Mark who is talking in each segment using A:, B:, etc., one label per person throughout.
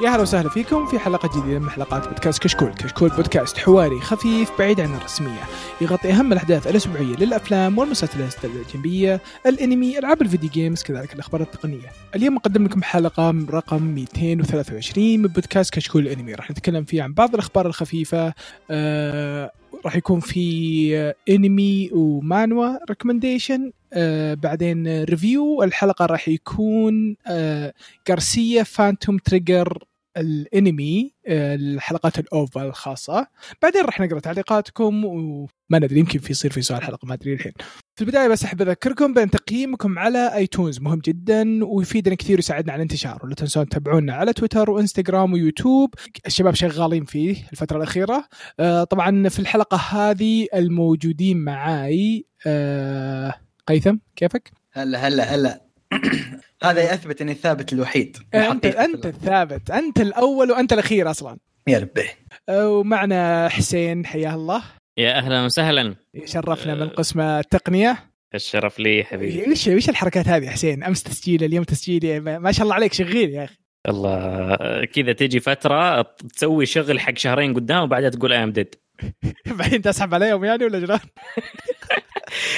A: يا هلا وسهلا فيكم في حلقة جديدة من حلقات بودكاست كشكول، كشكول بودكاست حواري خفيف بعيد عن الرسمية، يغطي أهم الأحداث الأسبوعية للأفلام والمسلسلات الأجنبية، الأنمي، ألعاب الفيديو جيمز، كذلك الأخبار التقنية. اليوم نقدم لكم حلقة من رقم 223 من بودكاست كشكول الأنمي، راح نتكلم فيه عن بعض الأخبار الخفيفة، آه راح يكون في انمي ومانوا ريكومنديشن آه بعدين ريفيو الحلقه راح يكون آه غارسيا فانتوم تريجر الانمي آه الحلقات الاوفا الخاصه بعدين راح نقرا تعليقاتكم وما ندري يمكن في يصير في سؤال حلقه ما ادري الحين في البدايه بس احب اذكركم بان تقييمكم على ايتونز مهم جدا ويفيدنا كثير ويساعدنا على الانتشار ولا تنسون تتابعونا على تويتر وانستغرام ويوتيوب الشباب شغالين فيه الفتره الاخيره آه طبعا في الحلقه هذه الموجودين معاي آه قيثم كيفك
B: هلا هلا هلا هذا يثبت اني الثابت الوحيد
A: انت انت آه، الثابت انت الاول وانت الاخير اصلا
B: يا ربي
A: آه، ومعنا حسين حياه الله
C: يا اهلا وسهلا
A: شرفنا من إيه. قسم التقنيه
C: الشرف لي حبيبي
A: ايش ايش الحركات هذه يا حسين امس تسجيل اليوم تسجيل ما ما شاء الله عليك شغيل يا اخي
C: الله كذا تجي فتره تسوي شغل حق شهرين قدام وبعدها تقول اي ام ديد
A: بعدين تسحب عليهم يعني ولا جنان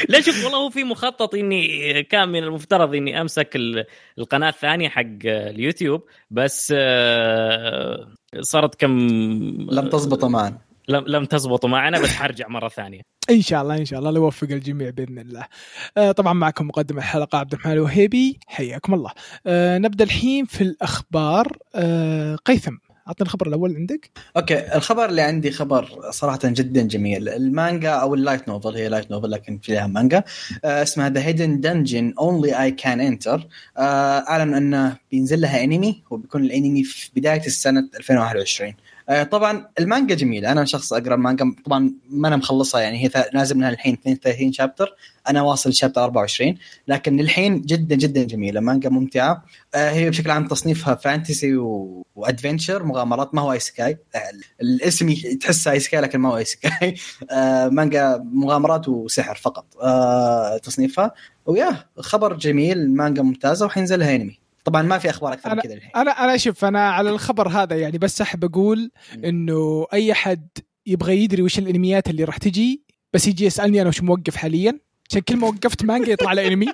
C: لا شوف والله هو في مخطط اني كان من المفترض اني امسك ال- القناه الثانيه حق اليوتيوب بس آه، صارت كم
B: لم تزبط معنا
C: لم لم تزبط معنا بس حرجع مره ثانيه
A: ان شاء الله ان شاء الله الله يوفق الجميع باذن الله. آه، طبعا معكم مقدم الحلقه عبد الرحمن الوهيبي حياكم الله. آه، نبدا الحين في الاخبار آه، قيثم اعطني الخبر الاول عندك
B: اوكي الخبر اللي عندي خبر صراحه جدا جميل المانجا او اللايت نوفل هي لايت نوفل لكن فيها مانجا آه اسمها ذا هيدن دنجن اونلي اي كان انتر اعلن انه آه، بينزل لها انمي وبيكون الانمي في بدايه السنه 2021 آه طبعا المانجا جميله انا شخص اقرا المانجا طبعا ما انا مخلصها يعني هي ثا- نازل منها الحين 32 شابتر انا واصل شابتر 24 لكن للحين جدا جدا جميله مانجا ممتعه آه، هي بشكل عام تصنيفها فانتسي و... وادفنشر مغامرات ما هو اي سكاي آه، الاسم ي- تحسه اي سكاي لكن ما هو اي سكاي مانجا مغامرات وسحر فقط آه، تصنيفها ويا خبر جميل مانجا ممتازه وحينزل لها انمي طبعا ما في اخبار اكثر من كذا الحين
A: انا انا شوف انا على الخبر هذا يعني بس احب اقول انه اي احد يبغى يدري وش الانميات اللي راح تجي بس يجي يسالني انا وش موقف حاليا عشان كل ما وقفت مانجا يطلع على انمي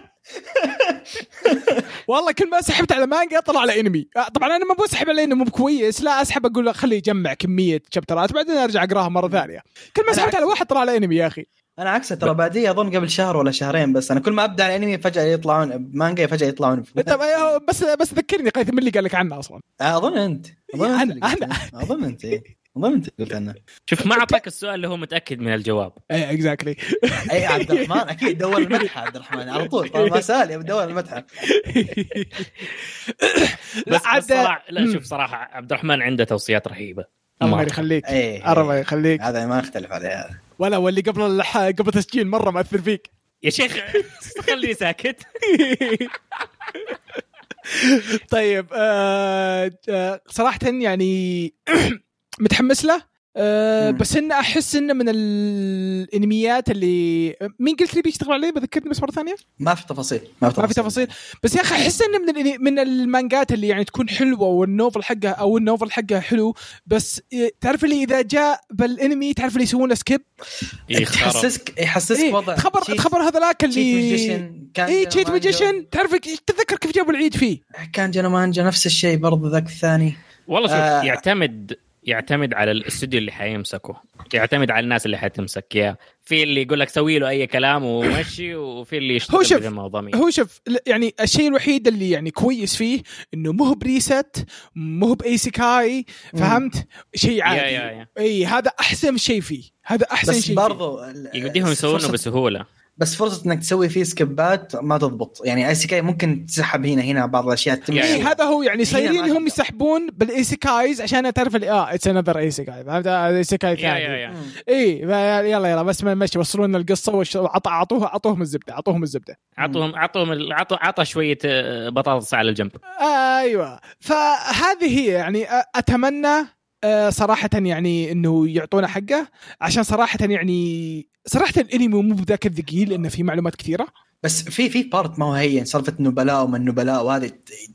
A: والله كل ما سحبت على مانجا يطلع على انمي آه، طبعا انا ما بسحب على انه مو كويس لا اسحب اقول خليه يجمع كميه شابترات بعدين ارجع اقراها مره ثانيه كل ما سحبت على واحد طلع على انمي يا اخي
B: انا عكسه ترى باديه اظن قبل شهر ولا شهرين بس انا كل ما ابدا على انمي فجاه يطلعون بمانجا فجاه يطلعون في-
A: طب آه، بس بس ذكرني قيثم من اللي قال لك عنه اصلا
B: اظن انت اظن
A: أنا-
B: انت اللي قلت
A: أنا.
B: عنه. اظن انت إيه. اظن انت اللي قلت عنه
C: شوف ما اعطاك السؤال اللي هو متاكد من الجواب
A: ايه اكزاكتلي
B: اي عبد الرحمن اكيد دور المدحه عبد الرحمن على طول طبعا ما سال يبي دور المدحه
A: لا،
C: بس,
A: عاد-
C: بس صراحة لا
A: مم.
C: شوف صراحه عبد الرحمن عنده توصيات رهيبه
A: الله
C: مرة.
A: يخليك
B: اي
A: الله يخليك
B: إيه، هذا ما اختلف عليه هذا
A: ولا واللي قبل الح... قبل تسجيل مره مأثر فيك
C: يا شيخ خليني ساكت
A: طيب آه آه، صراحه يعني متحمس له آه
B: مم.
A: بس انه احس انه من الانميات اللي مين قلت لي بيشتغل عليه بذكرني بس مره ثانيه
B: ما في تفاصيل ما في تفاصيل,
A: ما في تفاصيل بس يا اخي احس انه من الإني- من المانجات اللي يعني تكون حلوه والنوفل حقها او النوفل حقها حلو بس إيه، تعرف اللي اذا جاء بالانمي تعرف اللي يسوون له سكيب
C: إيه،
B: يحسسك يحسسك
A: إيه
B: وضع
A: تخبر
B: تشيت-
A: تخبر هذاك
B: تشيت
A: اللي
B: ماجيشن. كان
A: اي
B: جنو
A: تشيت
B: مانجا.
A: إيه، ماجيشن تعرف تتذكر كيف جابوا العيد فيه
B: كان جنو مانجا نفس الشيء برضه ذاك الثاني
C: والله شوف
B: آه.
C: آه. يعتمد يعتمد على الاستوديو اللي حيمسكه يعتمد على الناس اللي حتمسك يا في اللي يقول لك سوي له اي كلام ومشي وفي اللي
A: هو
C: يشتغل
A: شوف-
C: بدون ما هو ضمير.
A: هو شوف ل- يعني الشيء الوحيد اللي يعني كويس فيه انه مو هو بريست مو هو بايسيكاي فهمت شيء عادي
C: يا- يا- يا.
A: اي هذا احسن شيء فيه هذا احسن
B: بس
A: شيء
B: برضه
C: يقديهم
A: آه،
C: يسوونه
B: بس
C: بسهوله
B: بس فرصه انك تسوي فيه سكبات ما تضبط يعني اي سي كاي ممكن تسحب هنا هنا بعض الاشياء تمشي
C: يعني-
A: اي هذا هو يعني
B: هنا
A: صايرين
B: ما
A: هم
B: تقدر.
A: يسحبون بالايسيكايز عشان تعرف ال- اه اتس انذر ايسيكاي فهمت ايسيكاي
C: يا يا
A: ثاني
C: يا.
A: اي فيلا- يلا يلا بس ما مشي وصلونا القصه وش- وعط- اعطوها اعطوهم الزبده اعطوهم الزبده
C: اعطوهم اعطوهم ال- عطوا عطى شويه آه، بطاطس على الجنب
A: ايوه فهذه هي يعني أ- اتمنى آه، صراحة يعني انه يعطونا حقه عشان صراحة يعني صراحة الانمي مو بذاك الثقيل انه في معلومات كثيرة
B: بس في في بارت ما هو هين سالفه نبلاء وما النبلاء وهذه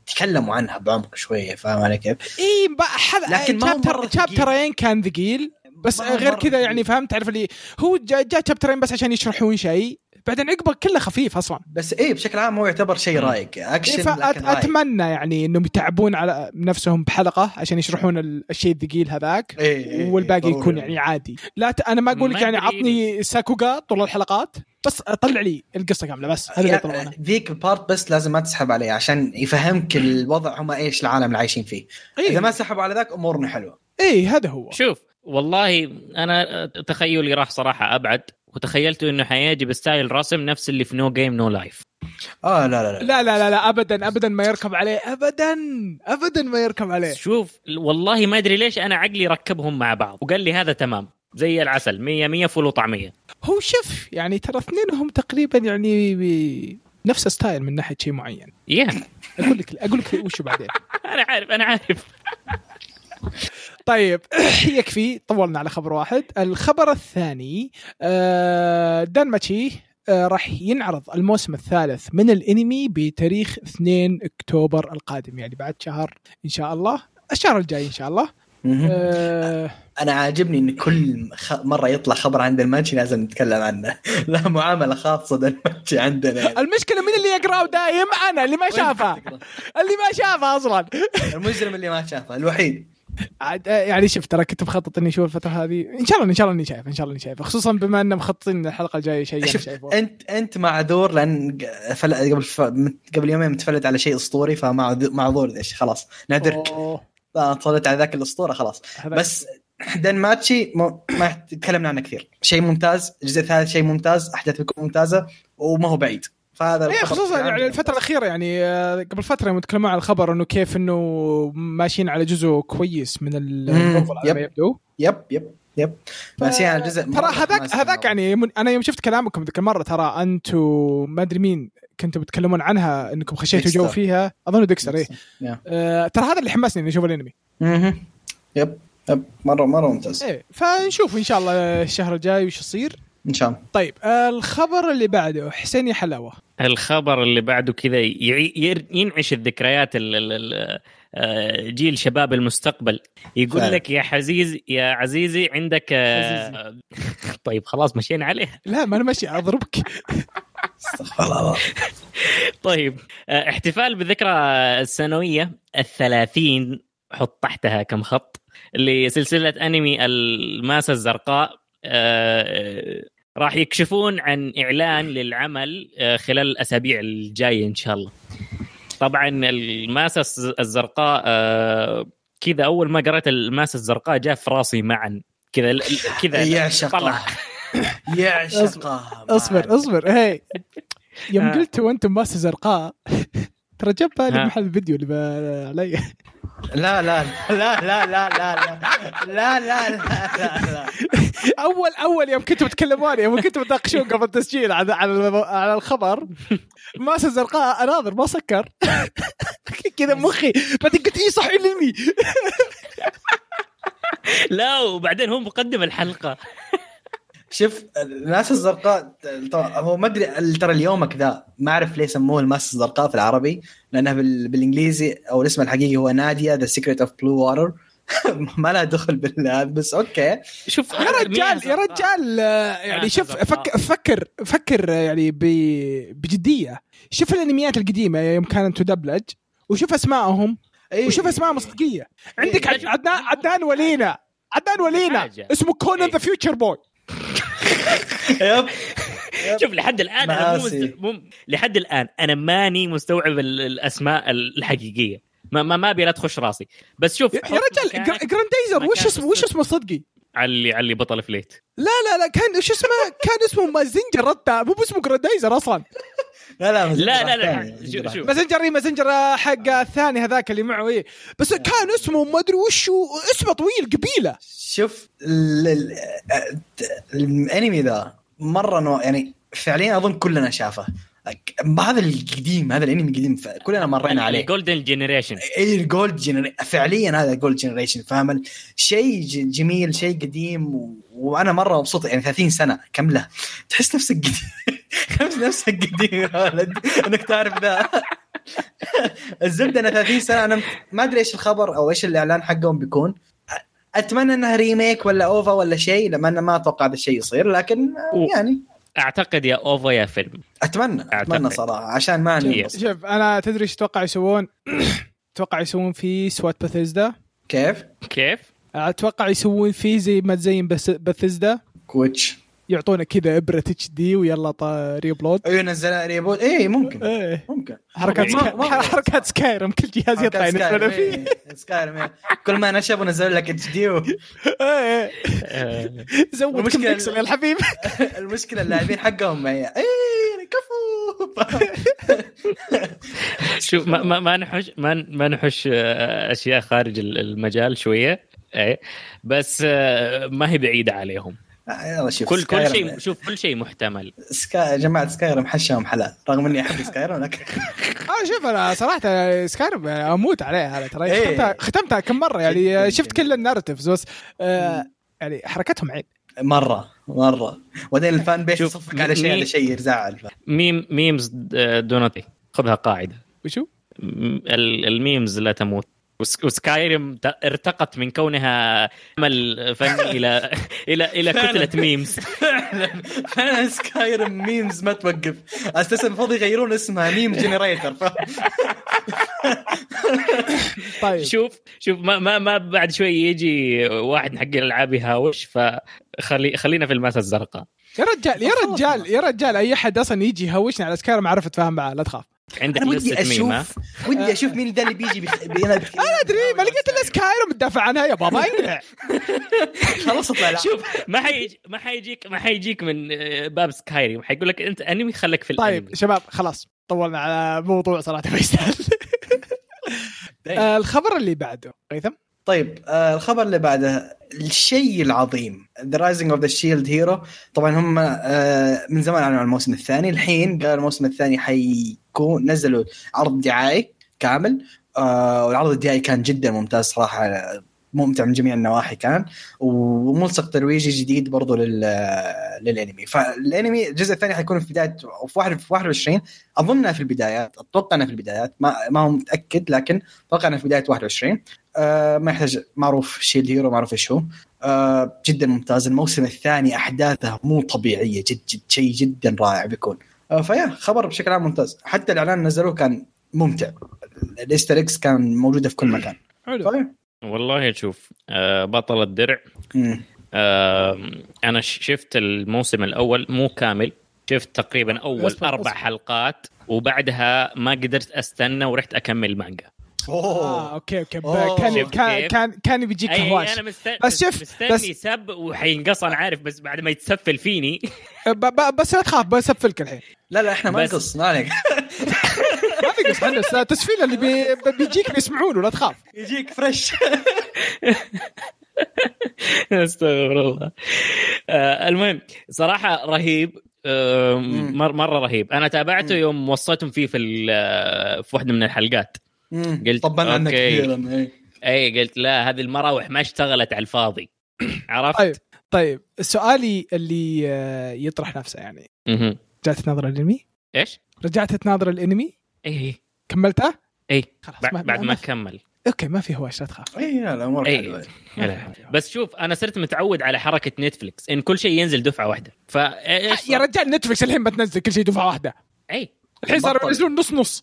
B: تكلموا عنها بعمق شويه فاهم علي كيف؟
A: اي ب- حل...
B: لكن ما هو
A: شابتر
B: مرة
A: شابترين كان ثقيل بس
B: ما هو
A: غير
B: مرة
A: كذا يعني
B: ثقيل.
A: فهمت تعرف اللي هو جاء جا شابترين بس عشان يشرحون شيء بعدين عقبه كله خفيف اصلا
B: بس ايه بشكل عام هو يعتبر شيء رايق
A: إيه،
B: اكشن لكن رايق
A: فاتمنى يعني انهم يتعبون على نفسهم بحلقه عشان يشرحون ال- الشيء الثقيل هذاك
B: إيه، إيه، إيه،
A: والباقي
B: ضروري.
A: يكون يعني عادي لا ت... انا ما اقول لك
C: ما
A: يعني
C: أدري.
A: عطني ساكوغا طول الحلقات بس طلع لي القصه كامله بس هذا اللي
B: يعني
A: طلعنا
B: ذيك البارت بس لازم ما تسحب عليه عشان يفهمك الوضع هم ايش العالم اللي عايشين فيه
A: إيه.
B: اذا ما سحبوا على ذاك امورنا حلوه
A: اي إيه، هذا هو
C: شوف والله انا تخيلي راح صراحه ابعد وتخيلت انه حيجي بستايل رسم نفس اللي في نو جيم نو لايف
B: اه لا لا
A: لا
B: لا
A: لا لا لا ابدا ابدا ما يركب عليه ابدا ابدا ما يركب عليه
C: شوف والله ما ادري ليش انا عقلي ركبهم مع بعض وقال لي هذا تمام زي العسل 100 100 فول وطعميه
A: هو شف يعني ترى اثنينهم تقريبا يعني ب- نفس ستايل من ناحيه شيء معين
C: يا
A: اقول لك اقول لك وش بعدين
C: انا عارف انا عارف
A: طيب يكفي طولنا على خبر واحد الخبر الثاني آه، دانماتشي آه، راح ينعرض الموسم الثالث من الانمي بتاريخ 2 اكتوبر القادم يعني بعد شهر ان شاء الله الشهر الجاي ان شاء الله
B: مهم.
A: آه،
B: انا عاجبني ان كل خ- مره يطلع خبر عن الماتشي لازم نتكلم عنه لا معامله خاصه الماتشي عندنا
A: المشكله من اللي يقراه دايم انا اللي ما شافه اللي ما شافه اصلا
B: المجرم اللي ما شافه الوحيد
A: عاد آه، يعني شفت ترى كنت مخطط اني اشوف الفتره هذه ان شاء الله ان شاء الله اني شايف ان شاء الله اني شايف خصوصا بما ان مخططين الحلقه الجايه شيء انا
B: شوف
A: يعني شايفه
B: انت انت معذور لان فل... قبل ف... قبل يومين متفلت على شيء اسطوري فمعذور معذور إيش، خلاص نادرك
A: أوه،
B: طلعت على ذاك الاسطوره خلاص
A: هذا-
B: بس دن ماتشي ما ما تكلمنا عنه كثير شيء ممتاز الجزء الثالث شيء ممتاز احداث بتكون ممتازه وما هو بعيد فهذا
A: ايه
B: الخبر
A: خصوصا
B: كان-
A: يعني الفترة الأخيرة يعني آه، قبل فترة يوم تكلموا عن الخبر انه كيف انه ماشيين على جزء كويس من ال-
B: مم،
A: الموفل على ما
B: يب.
A: يبدو
B: يب يب يب
A: ف-
B: ناسيين على الجزء مرة
A: ترى هذاك
B: متحمس
A: هذاك
B: للموضوع.
A: يعني من- انا يوم شفت كلامكم ذيك المرة ترى انتم ما ادري مين كنتم بتتكلمون عنها انكم خشيتوا جو
B: ديكستر.
A: فيها اظن ديكستر ايه
B: يا.
A: آه، ترى هذا اللي حمسني اني اشوف الانمي
B: مهم. يب يب مره مره ممتاز
A: ايه فنشوف ان شاء الله الشهر الجاي وش يصير
B: ان شاء الله
A: طيب آه، الخبر اللي بعده حسين يا حلاوه
C: الخبر اللي بعده كذا يعي- ير- ينعش الذكريات ال- ال- ال- آه، جيل شباب المستقبل يقول
B: فعلا.
C: لك يا حزيز يا عزيزي عندك آه، طيب خلاص مشينا عليه
A: لا ما انا ماشي اضربك
B: استغفر الله
C: طيب آه، احتفال بالذكرى السنويه الثلاثين حط تحتها كم خط لسلسله انمي الماسه الزرقاء آه، راح يكشفون عن اعلان للعمل آه، خلال الاسابيع الجايه ان شاء الله طبعا الماسه الز- الزرقاء آه، كذا اول ما قرأت الماسه الزرقاء جاء في راسي معا كذا كذا طلع
B: يعشقه يعشقه
A: اصبر اصبر هي يوم
C: آه.
A: قلت وانتم ماسه زرقاء ترى جاب بالي
C: آه.
A: محل الفيديو اللي ب- علي
B: لا لا لا لا لا لا لا لا لا لا لا
A: اول اول يوم كنتوا تتكلمون يوم كنتوا تناقشون قبل التسجيل على على المو- على الخبر ماسه زرقاء اناظر ما سكر كذا مخي بعدين قلت إيه، اي صح علمي
C: لا وبعدين هو مقدم الحلقه
B: شوف الناس الزرقاء طبعا هو ما ادري ترى اليومك ذا ما اعرف ليه سموه الماس الزرقاء في العربي لانها بال... بالانجليزي او الاسم الحقيقي هو ناديه ذا سيكريت اوف بلو واتر ما لها دخل بالهذا بس اوكي
C: شوف
A: يا رجال يا رجال آه، يعني
C: ماسة
A: شوف
C: زرقاء.
A: فكر فكر فكر آه، يعني ب- بجديه شوف الانميات القديمه يوم كانت تدبلج وشوف اسمائهم
B: أي-
A: وشوف اسماء مصداقيه عندك
B: إيه.
A: عد- عدنان عدنان ولينا عدنان ولينا
C: حاجة.
A: اسمه كونان
C: إيه.
A: ذا فيوتشر بوي
B: يب
C: شوف لحد الان انا مو
B: مآسي.
C: مست... مو... لحد الان انا ماني مستوعب ال- الاسماء الحقيقيه ما ما, ما ابي لا تخش راسي بس شوف
A: يا
C: حط
A: يا رجال
C: مكانك
A: جر- جراندايزر وش
C: مكان
A: اسمه وش
C: أستاذ.
A: اسمه صدقي
C: على اللي على اللي بطل فليت
A: لا لا لا كان وش اسمه كان اسمه مازنجر رتا مو باسمه جراندايزر اصلا
B: لا لا بس
C: لا، لا، لا،
B: راح
C: شوف-
B: ثاني.
C: شوف.
A: مازنجر اي مازنجر آه، حق الثاني هذاك اللي معه ايه بس كان اسمه ما ادري وش هو، اسمه طويل قبيله
B: شوف ال- ال- ال- الانمي ذا مره نوع يعني فعليا اظن كلنا شافه هذا القديم هذا الانمي القديم ف- كلنا مرينا عليه
C: جولدن جنريشن
B: اي الجولد جنري... فعليا هذا الجولد جنريشن فاهم شيء ج- جميل شيء قديم و... وانا مره مبسوط يعني 30 سنه كم له تحس نفسك قديم خمس نفسك قديم يا ولد انك تعرف ذا الزبده انا 30 سنه انا ما ادري ايش الخبر او ايش الاعلان حقهم بيكون اتمنى انها ريميك ولا اوفا ولا شيء لما انا ما اتوقع هذا الشيء يصير لكن آه، يعني
C: اعتقد يا اوفا يا فيلم
B: اتمنى اتمنى
C: أعتقد.
B: صراحه عشان ما
C: جميل.
B: ننبسط
A: شوف انا تدري ايش اتوقع يسوون؟ اتوقع يسوون فيه سوات بثيزدا
B: كيف؟
C: كيف؟
A: اتوقع يسوون فيه زي ما تزين بس- بثيزدا
B: كويتش
A: يعطونا كذا ابره اتش دي ويلا طا- ريبلود
B: ايوه نزل ريبوت اي إيه، ممكن
A: ايه
B: ممكن
A: حركات
C: ما-
A: سكا...
B: ما-
A: حركات سكايرم كل جهاز يطلع ينزلون فيه
B: سكايرم كل ما نشب ونزل لك اتش دي
A: إيه، إيه.
C: آه،
A: زود كم
B: المشكلة-
A: بكسل يا الحبيب
B: المشكله اللاعبين حقهم معي اي كفو
C: شوف ما, ما, ما نحش ما, ما نحش آه، اشياء خارج ال- المجال شويه ايه بس آه، ما هي بعيده عليهم
B: آه، يلا شوف
C: كل كل
B: Skyrim-
C: شيء شوف كل شيء محتمل
B: سكاي جماعه سكايرم حشهم حلال رغم اني احب سكايرم لكن
A: اه شوف انا صراحه سكايرم اموت عليها انا ترى
B: إيه.
A: ختمتها ختمتها كم مره يعني
B: جداً
A: شفت كل النارتيفز بس آه، يعني حركتهم عيب
B: مره مره وبعدين الفان بيس
C: شوف،
B: يصفق على شيء
C: مي-
B: على شيء يزعل
C: ميم ميمز دونتي خذها قاعده
A: وشو؟
C: م- ال- الميمز لا تموت وس- وسكايرم ت- ارتقت من كونها عمل فني الى الى الى
B: فعلاً.
C: كتله ميمز
B: فعلا فعلا سكايرم ميمز ما توقف اساسا المفروض يغيرون اسمها ميم جنريتر
A: طيب
C: شوف شوف ما, ما ما بعد شوي يجي واحد من حق الالعاب يهاوش فخلي خلينا في الماسه الزرقاء
A: يا رجال يا
B: خلاص
A: رجال
B: ما.
A: يا رجال اي احد اصلا يجي يهوشنا على سكايرم عارف اتفاهم معاه لا تخاف
C: عندك
B: انا ودي
C: لسته ميم ها؟
B: اشوف ودي اشوف مين ذا اللي بيجي بخ... انا
A: انا ادري ما لقيت الا سكايرم تدافع عنها يا بابا نعم. انقلع
B: خلاص اطلع لا.
C: شوف ما حيجي ما حيجيك ما حيجيك من آه، باب سكايريم حيقول لك انت انمي خليك في الانمي
A: طيب شباب خلاص طولنا على موضوع صراحه ما يستاهل آه، الخبر اللي بعده قيثم
B: طيب آه الخبر اللي بعده الشيء العظيم ذا رايزنج اوف ذا شيلد هيرو طبعا هم آه من زمان اعلنوا عن الموسم الثاني الحين قال الموسم الثاني حيكون نزلوا عرض دعائي كامل آه والعرض الدعائي كان جدا ممتاز صراحه آه، ممتع من جميع النواحي كان وملصق ترويجي جديد برضه لل للانمي فالانمي الجزء الثاني حيكون في بدايه في واحد- في 21 اظنها في البدايات اتوقع انها في البدايات ما ما هو متاكد لكن اتوقع انها في بدايه 21 آه، ما يحتاج معروف شيلد هيرو معروف ايش هو آه، جدا ممتاز الموسم الثاني احداثه مو طبيعيه جد جد شيء جدا رائع بيكون آه، فيا خبر بشكل عام ممتاز حتى الاعلان اللي نزلوه كان ممتع الاستر اكس كان موجوده في كل مكان
A: حلو
B: فيا.
C: والله شوف آه، بطل الدرع
B: مم.
C: آه، انا ش- شفت الموسم الاول مو كامل شفت تقريبا اول
A: أصبر،
C: اربع
A: أصبر.
C: حلقات وبعدها ما قدرت استنى ورحت اكمل مانجا
A: اه
B: آه،
A: اوكي اوكي
B: أوه.
A: كان
C: شفت
A: كان
C: كيف؟
A: كان كان بيجيك
C: أي-
A: هواش
C: انا مست...
A: بس شوف،
C: مستني
A: بس-
C: سب وحينقص انا عارف بس بعد ما يتسفل فيني
A: آه، ب- ب- بس لا تخاف بسفلك الحين
B: لا لا احنا ما
C: بس-
B: نقص ما عليك
A: ما في قصه خلص لا، تسفيل اللي بي بي- بيجيك بيسمعونه لا تخاف
B: يجيك فريش
C: استغفر الله آه، المهم صراحه رهيب آه،
B: مم.
C: مر مره رهيب انا تابعته
B: مم.
C: يوم وصيتهم فيه في ال- آه، في واحده من الحلقات
B: مم.
C: قلت
B: طبلنا عنك
C: أوكي.
B: كثيرا إيه.
C: اي قلت لا هذه المراوح ما اشتغلت على الفاضي عرفت
A: طيب طيب سؤالي اللي آه، يطرح نفسه يعني
C: مهم.
A: رجعت تناظر الانمي؟
C: ايش
A: رجعت تناظر الانمي؟
C: اي
A: كملته؟
C: اي
A: خلاص ما-
C: إيه. بعد
A: ما-
C: ما كمل
A: اوكي ما في هواش لا تخاف
B: اي لا، الامور
C: إيه.
B: حلوه
A: ما في هواش.
C: بس شوف انا صرت متعود على حركه نتفلكس ان كل شيء ينزل دفعه واحده ف إيه،
A: آه، يا رجال نتفلكس الحين بتنزل كل شيء دفعه واحده
C: اي
A: الحين صاروا
B: بطل.
A: ينزلون نص نص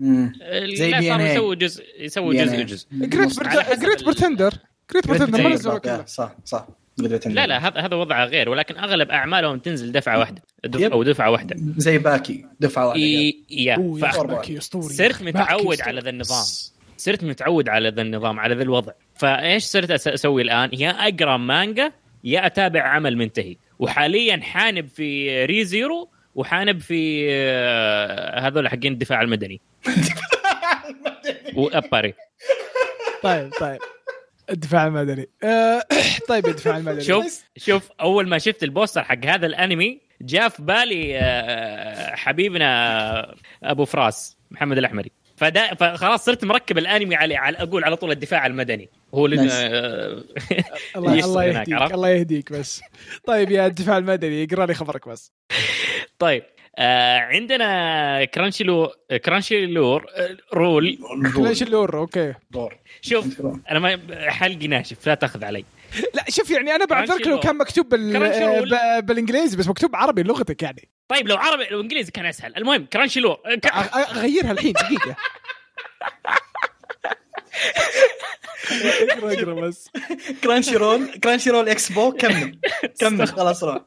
B: مم.
C: زي
B: DNA.
C: صاروا يسووا جزء يسووا
B: يعني
C: جزء جزء
A: جريت
B: نص-
C: على حسب
A: جريت
C: ال-
A: برتندر جريت برتندر ما
C: Pretender.
A: نزلوا كله
B: صح صح قدرت
C: لا لا هذا هذا وضعها غير ولكن اغلب اعمالهم تنزل دفعه واحده دف
B: يب.
C: او دفعه واحده
B: زي باكي دفعه واحده
C: إي- يا
A: أوه، يا
C: ف-
A: أخي،
B: فأخبر.
A: باكي اسطوري
C: صرت
A: باكي
C: متعود
A: أسطوري.
C: على ذا النظام صرت متعود على ذا النظام على ذا الوضع فايش صرت أس- اسوي الان يا اقرا مانجا يا اتابع عمل منتهي وحاليا حانب في ري زيرو وحانب في آه، هذول حقين الدفاع المدني واباري
A: طيب طيب الدفاع المدني آه، طيب الدفاع المدني
C: شوف شوف اول ما شفت البوستر حق هذا الانمي جاء في بالي آه، حبيبنا ابو فراس محمد الاحمري فدا فخلاص صرت مركب الانمي على, على اقول على طول الدفاع المدني هو لأن-
B: نايس.
C: آه،
A: الله
C: يشتغل
A: الله
C: هناك،
A: يهديك
C: عرفت؟
A: الله يهديك بس طيب يا الدفاع المدني اقرا لي خبرك بس
C: طيب آه عندنا كرانشي لو كرانشي لور آه، رول
A: ليش اللور اوكي
B: دور
C: شوف انا ما حلقي ناشف لا تاخذ علي
A: لا شوف يعني انا بعذرك لو
C: كرانشي
A: كان مكتوب بال... آه،
C: كرانشي رول.
A: ب- بالانجليزي بس مكتوب عربي لغتك يعني
C: طيب لو عربي لو انجليزي كان اسهل المهم كرانشي لور آه، ك-
A: أ- اغيرها الحين دقيقه اقرا اقرا بس
B: كرانشي رول كرانشي رول اكسبو كمل كمل خلاص روح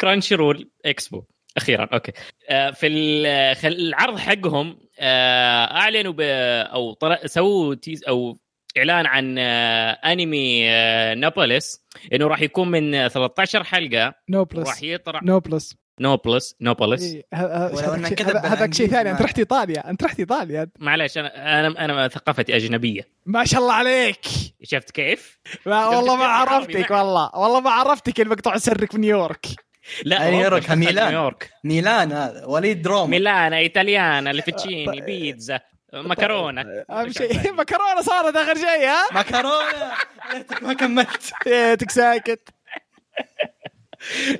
C: كرانشي رول اكسبو اخيرا اوكي آه، في ال- خل- العرض حقهم آه، اعلنوا ب- او طلع- سووا تيز او اعلان عن آه، انمي آه، نابوليس انه راح يكون من آه، 13 حلقه
A: نو
C: راح
A: بلس
C: يطلع
A: نو بلس
C: نوبلس نوبلس
A: إيه، ه- ه-
B: ولو
A: هذاك
B: إنه
A: شيء-
B: كتب
A: هذا- هذاك شيء
B: بالإنجليزي
A: ثاني انت
B: ما-
A: رحت ايطاليا انت رحت ايطاليا
C: معلش انا انا انا ثقافتي اجنبيه
A: ما شاء الله عليك
C: شفت كيف؟
A: ما
C: قلت
A: والله ما
C: كلمة عربي
A: عرفتك
C: معي.
A: والله والله ما عرفتك المقطوع سرك في نيويورك
C: لا
B: أنا
C: أوروبا،
B: يورك،
C: اشتغل
B: ميلان.
C: نيويورك
B: ميلان هذا وليد روما
C: ميلان ايطاليانا
B: أه،
C: الفيتشيني بيتزا مكرونه
A: اهم شيء مكرونه صارت اخر شيء ها
B: مكرونه ليتك ما كملت
A: ليتك ساكت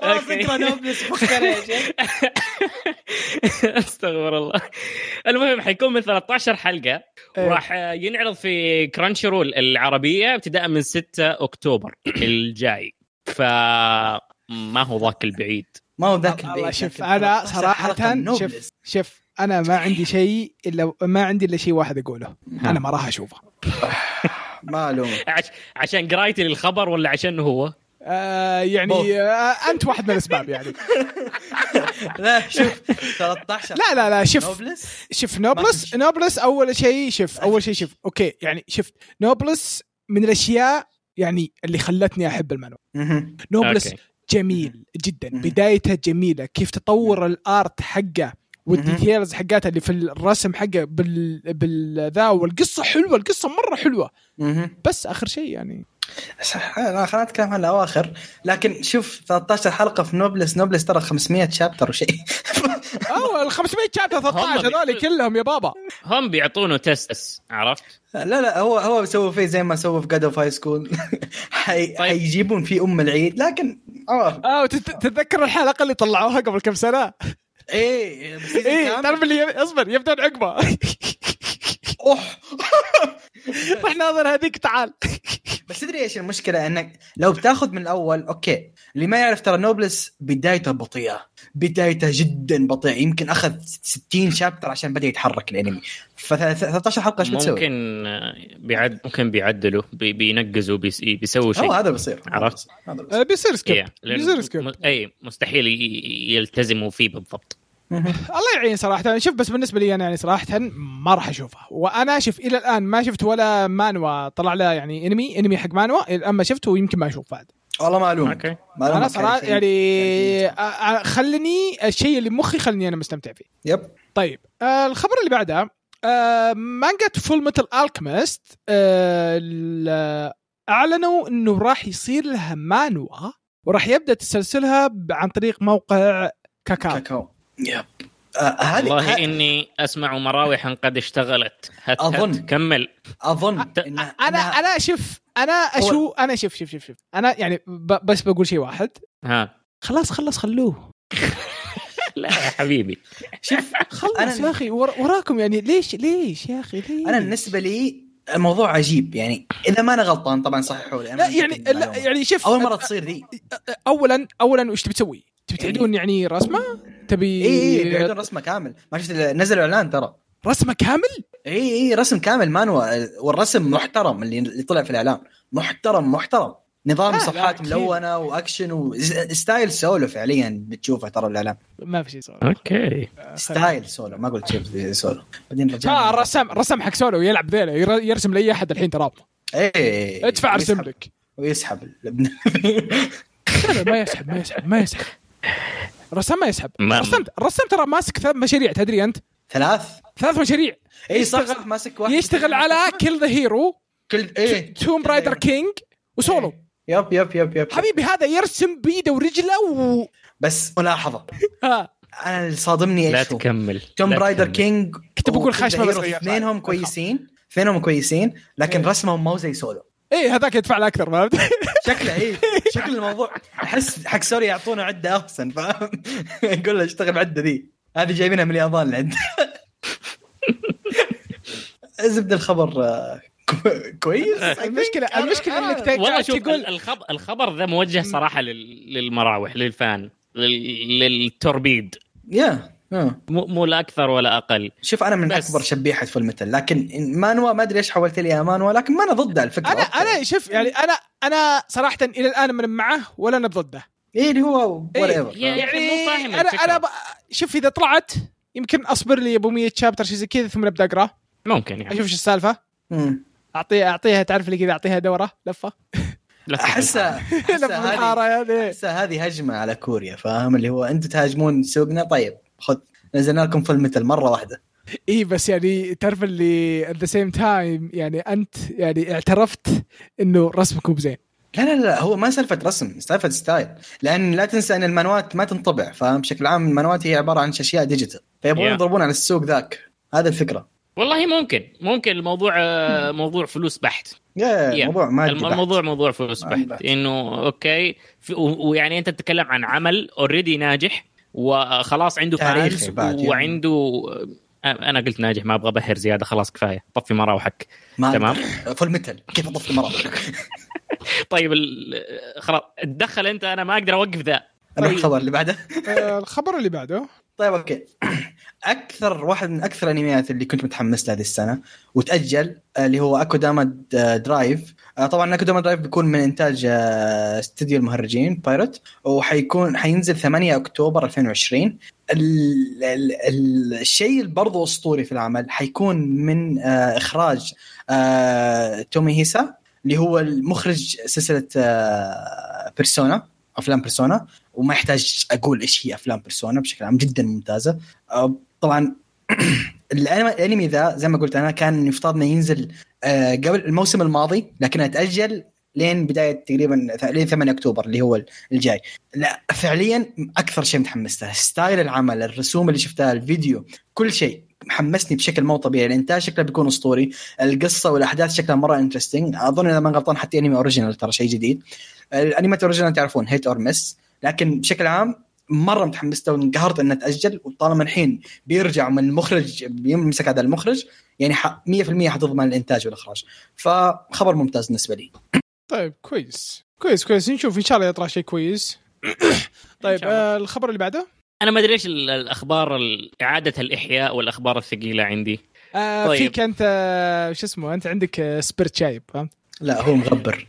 B: خلاص
C: أوكي.
B: اقرا نوبلس فكر يا شيخ
C: استغفر الله المهم حيكون من 13 حلقه
B: إيه.
C: وراح ينعرض في كرانشي رول العربيه ابتداء من 6 اكتوبر الجاي ف ما هو ذاك البعيد
B: ما هو ذاك
A: والله
B: البيت،
A: شوف
B: لكن
A: انا
B: 13 حلقة
A: صراحه
B: نوبلس.
A: شوف شوف انا ما عندي شيء الا ما عندي الا شيء واحد اقوله
C: ها.
B: نعم.
A: انا ما راح اشوفه
B: ما الوم
C: عش... عشان قرايتي للخبر ولا عشان هو؟
A: آه
B: بوف.
A: يعني آه انت واحد من الاسباب يعني
B: لا شوف 13
A: لا لا لا شوف
B: نوبلس
A: شوف نوبلس نوبلس اول شيء شوف اول شيء شوف اوكي يعني شفت نوبلس من الاشياء يعني اللي خلتني احب المانو
B: مهم.
A: نوبلس
C: أوكي.
A: جميل جدا
B: مهم.
A: بدايته جميله كيف تطور الارت حقه والديتيلز حقته اللي في الرسم حقه بال بالذا والقصه حلوه القصه مره حلوه
B: مهم.
A: بس اخر شيء يعني
B: صح، انا خلينا نتكلم عن الاواخر لكن شوف 13 حلقه في نوبلس نوبلس ترى 500 شابتر وشيء
A: او آه، ال 500 شابتر 13
C: هم
A: هذول
C: بيقول-
A: كلهم يا بابا
C: هم بيعطونه تسس عرفت؟
B: لا لا هو هو بيسوي فيه زي ما سووا في جاد اوف هاي سكول حي...
C: طيب.
B: حيجيبون فيه ام العيد لكن اه
A: اه وتت- تتذكر الحلقه اللي طلعوها قبل كم سنه
C: إيه،
B: ايه بس
A: ايه تعرف اللي يب- اصبر يبدون عقبه
B: اوه
A: رح ناظر هذيك تعال
B: بس تدري ايش المشكله انك لو بتاخذ من الاول اوكي اللي ما يعرف ترى نوبلس بدايته بطيئه بدايته جدا بطيئه يمكن اخذ 60 شابتر عشان بدا يتحرك الانمي ف 13 حلقه ايش بتسوي؟
C: ممكن آه، بيعد ممكن بيعدلوا بي- بينقزوا بيس- بيسووا شيء
B: هو هذا بيصير
C: عرفت؟
B: هذا بيصير.
A: آه، بيصير سكيب
C: إيه، لأنه
A: بيصير سكيب
C: م- اي مستحيل ي- ي- يلتزموا فيه بالضبط
A: الله يعين صراحة شوف بس بالنسبة لي أنا يعني صراحة ما راح أشوفها وأنا شوف إلى الآن ما شفت ولا مانوا طلع لها يعني إنمي إنمي حق مانوا إلى الآن ما شفته ويمكن ما أشوف بعد
B: والله ما الومك
C: اوكي
B: ما
A: أنا
B: ألومك
A: صراحة
B: شيء.
A: يعني أ- أ- خلني الشيء اللي مخي خلني أنا مستمتع فيه
B: يب
A: طيب آه، الخبر اللي بعدها آه، مانجا فول ميتال الكيمست آه، اعلنوا انه راح يصير لها مانوا وراح يبدا تسلسلها ب- عن طريق موقع كاكاو
B: كاكاو يب آه، هذه
C: والله
B: ه-
C: اني اسمع مراوح قد اشتغلت هت
B: أظن.
C: هت كمل
B: اظن
C: أ-
B: انها
A: انا
B: إنها-
A: انا شوف انا اشو انا شوف شوف شوف شوف انا يعني ب- بس بقول شيء واحد
C: ها
A: خلاص خلص خلوه
C: لا يا حبيبي
B: شوف
A: خلص
B: أنا-
A: يا اخي ور- وراكم يعني ليش ليش يا اخي ليش
B: انا بالنسبه لي الموضوع عجيب يعني اذا ما انا غلطان طبعا صححوا لي أنا
A: لا
B: متأكد
A: يعني
B: من
A: لا
B: المعلومة.
A: يعني شوف
B: اول مره تصير ذي
A: اولا اولا وش تبي تسوي؟ تبي
B: إيه.
A: تعيدون يعني رسمه؟ تبي
B: اي اي بيعطون رسمه كامل ما شفت إلا- نزلوا اعلان ترى
A: رسمه كامل؟
B: اي اي رسم كامل مانوا والرسم محترم اللي اللي طلع في الاعلان محترم محترم نظام
A: لا، لا،
B: صفحات
A: أكيد.
B: ملونه واكشن وستايل سولو فعليا بتشوفه ترى الاعلان
A: ما في شيء صار
C: اوكي
B: ستايل سولو ما قلت شوف سولو بعدين
A: ها
B: رجعنا
A: آه، الرسام الرسام حق سولو يلعب ذيلا ير- يرسم لاي احد الحين ترى
B: اي
A: ادفع ارسم
B: ويسحب-
A: لك
B: ويسحب الابن
A: لا لا، ما يسحب ما يسحب ما يسحب الرسام ما يسحب
C: ما-
A: الرسام الرسام ترى ماسك ثلاث مشاريع تدري انت
B: ثلاث
A: ثلاث مشاريع
B: اي إيه، صح
A: يشتغل-
B: صح ماسك واحد إيه.
A: يشتغل على كل ذا هيرو
B: كل اي
A: توم رايدر كينج وسولو
B: يب يب يب يب
A: حبيبي هذا يرسم بيده ورجله و آه.
B: بس ملاحظه
A: ها
B: انا اللي صادمني
C: لا
B: ايش هو؟
C: تكمل
B: توم
C: لا
B: رايدر
C: تكمل.
B: كينج
A: كنت بقول
B: وكل
A: خشمة بس
B: هيرو
A: غير.
B: اثنينهم كويسين اثنينهم كويسين لكن
A: إيه.
B: رسمهم مو زي سولو
A: ايه هذاك يدفع له اكثر فهمت؟
B: شكله ايه شكل الموضوع احس حق سوري يعطونا عده احسن فاهم يقول له اشتغل بالعده ذي هذه جايبينها من اليابان لعند زبد الخبر آه، كو- كويس I think.
A: المشكله المشكله انك تك-
C: والله شوف
A: تقول
C: تقول... الخبر الخبر ذا موجه صراحه لل... للمراوح للفان لل... للتوربيد
B: يا آه.
C: مو... مو لا اكثر ولا اقل
B: شوف انا من
C: بس.
B: اكبر شبيحه فول متل لكن مانوا ما ادري ايش حولت لي يا مانوا لكن ما انا ضد الفكره
A: انا انا شوف يعني انا انا صراحه الى الان من معه ولا انا ضده
B: ايه اللي هو
A: إيه،
B: وات ايفر
C: يا- يا- يعني مو فاهم
A: انا
C: الفكرة.
A: انا ب... شوف اذا طلعت يمكن اصبر لي ابو 100 شابتر شيء زي كذا ثم ابدا اقراه
C: ممكن يعني
A: اشوف شو السالفه اعطيها اعطيها تعرف اللي كذا اعطيها دوره لفه
C: لا تفهم.
B: احسها
A: لفه
B: أحسها هذه-
A: بالحاره هذه
B: احسها هذه هجمه على كوريا فاهم اللي هو انتم تهاجمون سوقنا طيب خذ نزلنا لكم فيلم مثل مره واحده
A: اي بس يعني تعرف اللي ات ذا سيم تايم يعني انت يعني اعترفت انه رسمك مو بزين
B: لا لا لا هو ما سالفه رسم سالفه ستايل لان لا تنسى ان المانوات ما تنطبع فاهم بشكل عام المانوات هي عباره عن اشياء ديجيتال فيبغون
C: Yeah.
B: يضربون على السوق ذاك هذا الفكره
C: والله ممكن ممكن الموضوع آه، موضوع فلوس بحت
B: يا
C: Yeah.
B: موضوع ما
C: الم- الموضوع موضوع فلوس
B: مادي
C: بحت
B: بحت.
C: انه اوكي في- و- ويعني انت تتكلم عن عمل اوريدي ناجح وخلاص عنده
B: تاريخي
C: فانز
B: بعد، يعني.
C: وعنده آه، انا قلت ناجح ما ابغى ابهر زياده خلاص كفايه طفي مراوحك تمام.
B: تمام فول متل كيف اضفت مره
C: طيب ال... خلاص تدخل انت انا ما اقدر اوقف ذا
B: نروح
C: طيب.
B: الخبر اللي بعده
A: آه، الخبر اللي بعده
B: طيب اوكي اكثر واحد من اكثر الانميات اللي كنت متحمس له هذه السنه وتاجل آه، اللي هو اكوداما د- آه، درايف آه، طبعا اكوداما درايف بيكون من انتاج آه، استوديو المهرجين بايرت وحيكون حينزل 8 اكتوبر 2020 ال- ال- ال- الشيء اللي برضه اسطوري في العمل حيكون من آه، اخراج آه، تومي هيسا اللي هو المخرج سلسله بيرسونا افلام بيرسونا وما يحتاج اقول ايش هي افلام بيرسونا بشكل عام جدا ممتازه أه، طبعا الأنمي- الانمي ذا زي ما قلت انا كان يفترض انه ينزل أه، قبل الموسم الماضي لكنه تاجل لين بدايه تقريبا ث- لين 8 اكتوبر اللي هو الجاي لا فعليا اكثر شيء متحمس له ستايل العمل الرسوم اللي شفتها الفيديو كل شيء محمسني بشكل مو طبيعي الانتاج شكله بيكون اسطوري القصه والاحداث شكلها مره انترستنج اظن اذا ما غلطان حتى انمي اوريجينال ترى شيء جديد الانميات اوريجينال تعرفون هيت اور مس لكن بشكل عام مره متحمس له وانقهرت انه تاجل وطالما الحين بيرجع من المخرج بيمسك هذا المخرج يعني ح- 100% حتضمن الانتاج والاخراج فخبر ممتاز بالنسبه لي
A: طيب كويس كويس كويس نشوف ان شاء الله يطلع شيء كويس طيب
C: إن شاء الله.
A: آه، الخبر اللي بعده
C: انا ما ادري ايش ال- الاخبار ال- اعاده الاحياء والاخبار الثقيله عندي
A: آه
C: طيب.
A: فيك انت آه، شو اسمه انت عندك آه، سبيرت شايب فهمت؟
B: لا هو مغبر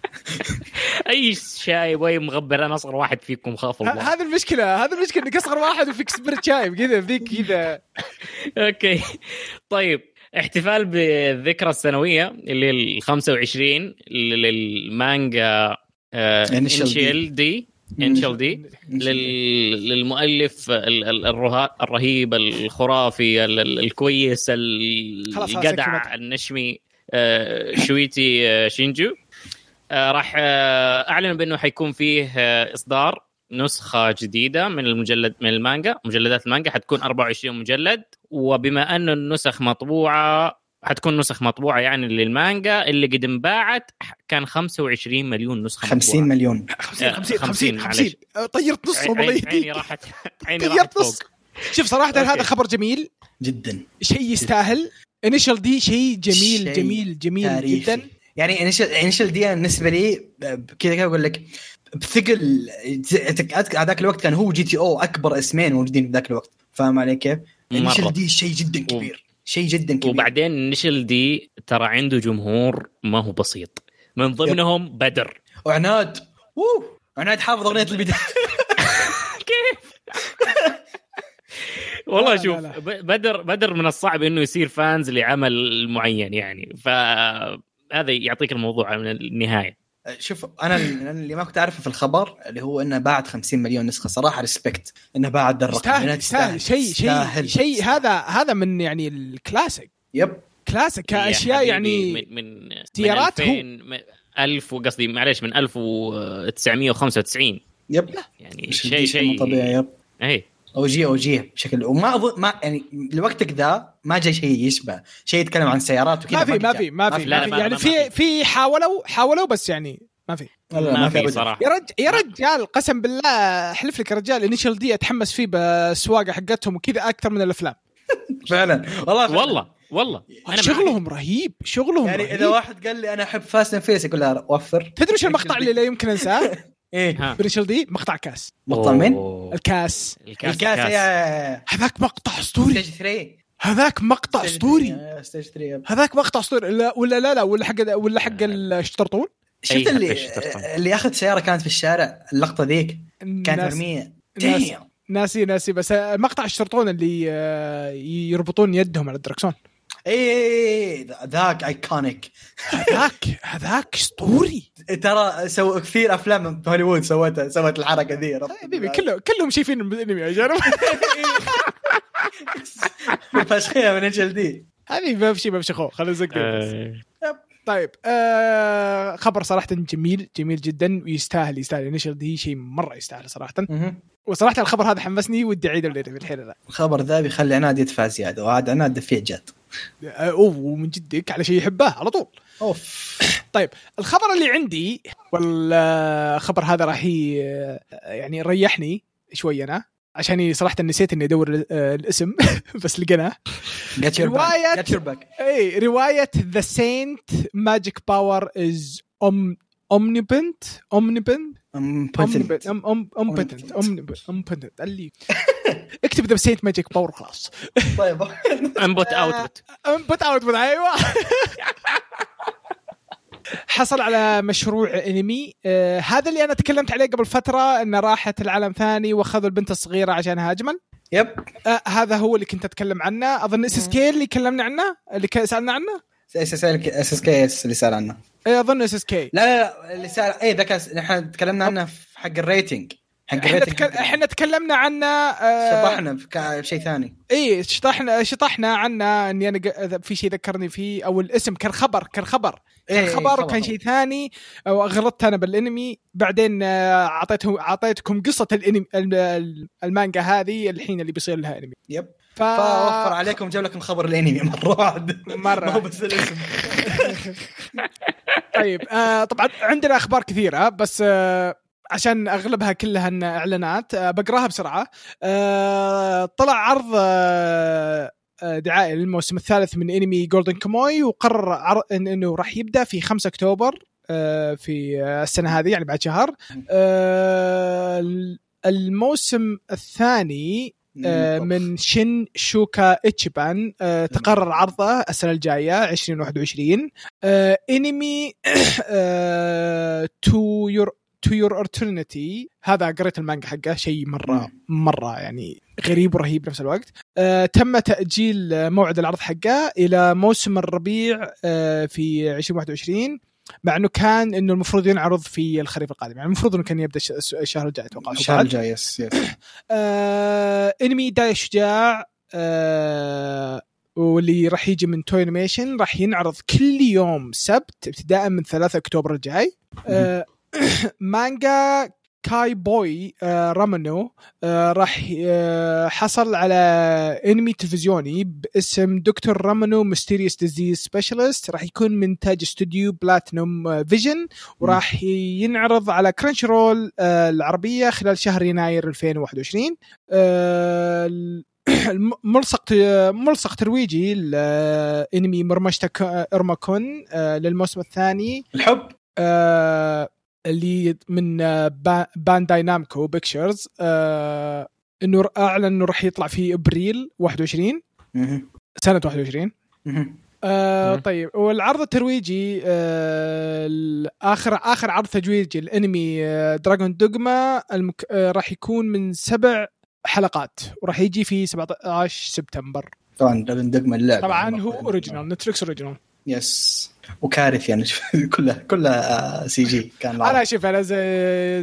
C: اي شايب واي مغبر انا اصغر واحد فيكم خاف
A: ه-
C: الله
A: هذه المشكله هذه المشكله انك اصغر واحد وفيك سبيرت شايب كذا فيك كذا
C: اوكي طيب احتفال بالذكرى السنويه اللي ال 25 للمانجا آه،
B: Initial D.
C: انشيل دي انشيل دي للمؤلف ال- ال- الرها- الرهيب الخرافي ال- ال- الكويس ال-
A: خلاص، خلاص،
C: الجدع
A: اكتمت.
C: النشمي آه، شويتي آه، شينجو آه، راح آه، اعلن بانه حيكون فيه آه، اصدار نسخه جديده من المجلد من المانجا مجلدات المانجا حتكون 24 مجلد وبما انه النسخ مطبوعه حتكون نسخ مطبوعه يعني للمانجا اللي قد انباعت كان 25 مليون نسخه
B: 50
C: مطبوعة.
B: مليون
A: 50 50
C: 50
A: 50
C: معليش.
A: 50 آه، طيرت نص والله
C: عيني- عيني راحت عيني راحت
A: طيرت
C: فوق
A: نص شوف صراحه
C: أوكي.
A: هذا خبر جميل
B: جدا
A: شيء يستاهل انيشال دي شيء جميل
B: شيء
A: جميل جميل
B: تاريخي.
A: جدا
B: يعني انيشل انيشل دي أنا بالنسبه لي ب- كذا كذا اقول لك بثقل ذاك الوقت كان هو جي تي او اكبر اسمين موجودين في ذاك الوقت فاهم علي كيف؟
C: مرة.
B: انيشل دي شيء جدا كبير شيء جدا كبير
C: وبعدين نشل دي ترى عنده جمهور ما هو بسيط من ضمنهم بدر
B: وعناد اوه عناد حافظ اغنيه البدايه
C: كيف والله
A: لا، لا،
C: شوف
A: لا.
C: ب- بدر بدر من الصعب انه يصير فانز لعمل معين يعني فهذا يعطيك الموضوع من النهايه
B: شوف انا أنا اللي ما كنت اعرفه في الخبر اللي هو انه باعت 50 مليون نسخه صراحه ريسبكت انه باعت ذا الرقم
A: يستاهل
B: يعني
A: يستاهل شيء شيء
B: يستاهل.
A: شيء هذا هذا من يعني الكلاسيك
B: يب
A: كلاسيك كاشياء
C: يا حبيبي،
A: يعني
C: من من
A: اختيارات هو.
C: من 1000 وقصدي معلش من 1995
B: يب
C: يعني شيء شيء إيه،
B: مو طبيعي يب
C: اي
B: او جي او جي بشكل وما اظن ما يعني لوقتك ذا ما جاء شيء يشبه شيء يتكلم عن سيارات وكذا
A: ما في ما
B: جاء.
A: في ما في ما
C: لا، لا،
A: في
C: ما-
A: يعني
C: ما- ما
A: في في حاولوا حاولوا بس يعني ما في
B: لا، لا،
C: ما
B: في
C: في
B: أبداً.
C: صراحه
A: يا رجل يا رجال قسم بالله احلف لك يا رجال انيشال دي اتحمس فيه بالسواقه حقتهم وكذا اكثر من الافلام
B: فعلا والله فعلاً.
C: والله والله أنا معك.
A: شغلهم رهيب شغلهم يعني
B: يعني
A: رهيب
B: اذا واحد قال لي انا احب فاست اند فيس اقول له وفر
A: تدري وش المقطع اللي لا يمكن انساه؟
B: ايه
C: ها.
A: بريشل دي مقطع كاس
B: مطمن
C: أوه.
A: الكاس
C: الكاس
B: الكاس
C: الكاس.
B: يا
A: هذاك مقطع اسطوري
B: ستيج 3
A: هذاك مقطع اسطوري
B: ستيج 3
A: هذاك مقطع اسطوري لا ولا لا لا ولا حق ولا حق الشطرطون
B: شفت
C: حتى
B: اللي
C: الشطرطان.
B: اللي اخذ سياره كانت في الشارع اللقطه ذيك كانت
A: ناس-
B: مرميه
A: ناس-
B: Damn.
A: ناسي ناسي بس مقطع الشرطون اللي آه، يربطون يدهم على الدركسون
B: اي ذا- ذاك ايكونيك
A: هذاك هذاك اسطوري
B: ترى سو كثير افلام هوليوود سوتها سوت الحركه ذي ربط
A: حبيبي كله كلهم شايفين الانمي يا جرب
B: فشخيها من اجل ذي
A: هذه ما في شيء ما في شيء خوف خلينا نزق
C: آه،
A: طيب آه خبر صراحه جميل جميل جدا ويستاهل يستاهل النشر دي شيء مره يستاهل صراحه وصراحه الخبر هذا حمسني ودي اعيد الانمي الحين انا
B: الخبر ذا بيخلي عناد يدفع زياده وعاد عناد دفيع جد
A: آه، اوه ومن جدك على شيء يحبه على طول
B: اوف
A: طيب الخبر اللي عندي والخبر هذا راح ي- يعني ريحني شوي انا عشان صراحه نسيت اني ادور ال- آه، الاسم بس لقيناه إيه،
B: جت يور
A: رواية-
B: باك جت يور باك
A: اي روايه ذا سينت ماجيك باور از ام اومنيبنت اومنيبنت اومنيبنت اومنيبنت اومنيبنت اللي اكتب ذا سينت ماجيك باور خلاص
B: طيب
C: انبوت اوتبوت
A: انبت اوت من ايوه حصل على مشروع انمي آه هذا اللي انا تكلمت عليه قبل فتره انه راحت العالم ثاني واخذوا البنت الصغيره عشانها اجمل
B: يب
A: آه هذا هو اللي كنت اتكلم عنه اظن اس اس كي اللي كلمنا عنه اللي ك- سالنا عنه
B: اس اس كي اللي سال عنه
A: آه، اظن اس اس كي
B: لا لا لا اللي سال اي ذاك نحن تكلمنا عنه في حق الريتنج حق الريتنج
A: احنا تكلمنا عنه آه
B: شطحنا في كا- في شيء ثاني
A: اي شطحنا شطحنا عنه اني انا ق- في شيء ذكرني فيه او الاسم كان خبر كان خبر كان
B: إيه،
A: خبر
B: خبر،
A: وكان شيء
B: خبر.
A: ثاني او غلطت انا بالانمي بعدين آه، اعطيته اعطيتكم قصه الانمي ال- ال- المانجا هذه الحين اللي بيصير لها انمي
B: يب
A: ف...
B: فوفر عليكم جاب لكم خبر الانمي مره واحده
A: آه. مرة.
B: ما هو بس الاسم
A: طيب آه طبعا عندنا اخبار كثيره بس آه عشان اغلبها كلها إن اعلانات آه بقراها بسرعه آه طلع عرض آه آه، دعائي للموسم الثالث من انمي جولدن كوموي وقرر عر... إن انه راح يبدا في 5 اكتوبر آه، في آه، السنه هذه يعني بعد شهر آه، الموسم الثاني آه، من شن شوكا اتشبان آه، تقرر عرضه السنه الجايه 2021 آه، انمي تو يور تو يور اورترنتي هذا قريت المانجا حقه شيء مره مره يعني غريب ورهيب بنفس الوقت آه، تم تاجيل آه، موعد العرض حقه الى موسم الربيع آه، في 2021 مع انه كان انه المفروض ينعرض في الخريف القادم يعني المفروض انه كان يبدا الش- الس- الشهر الجاي اتوقع
B: الشهر الجاي يس يس
A: آه، انمي داي شجاع آه، واللي راح يجي من توي انيميشن راح ينعرض كل يوم سبت ابتداء من 3 اكتوبر الجاي آه، مانجا كاي بوي آه، رامانو آه، راح آه، حصل على انمي تلفزيوني باسم دكتور رامانو ميستيريوس ديزيز سبيشالست راح يكون من تاج استوديو بلاتنوم آه، فيجن وراح ينعرض على كرنش رول آه، العربيه خلال شهر يناير 2021 آه، ال- الم- ملصق ملصق ترويجي لانمي مرمشتا ك- ارماكون آه، للموسم الثاني
B: الحب
A: آه، اللي من آه، با- بانداي نامكو بيكتشرز آه، انه ر- اعلن انه راح يطلع في ابريل 21
B: مهم.
A: سنه 21
B: مهم.
A: آه
C: مم.
A: طيب والعرض الترويجي آه ال- اخر اخر عرض ترويجي الانمي آه دراجون دوغما المك... آه راح يكون من سبع حلقات وراح يجي في 17 سبتمبر
B: طبعا دقم اللعبه
A: طبعا هو اوريجينال نتفلكس اوريجينال
B: يس وكارثه يعني كلها كلها سي جي كان العرض.
A: انا شوف انا زي,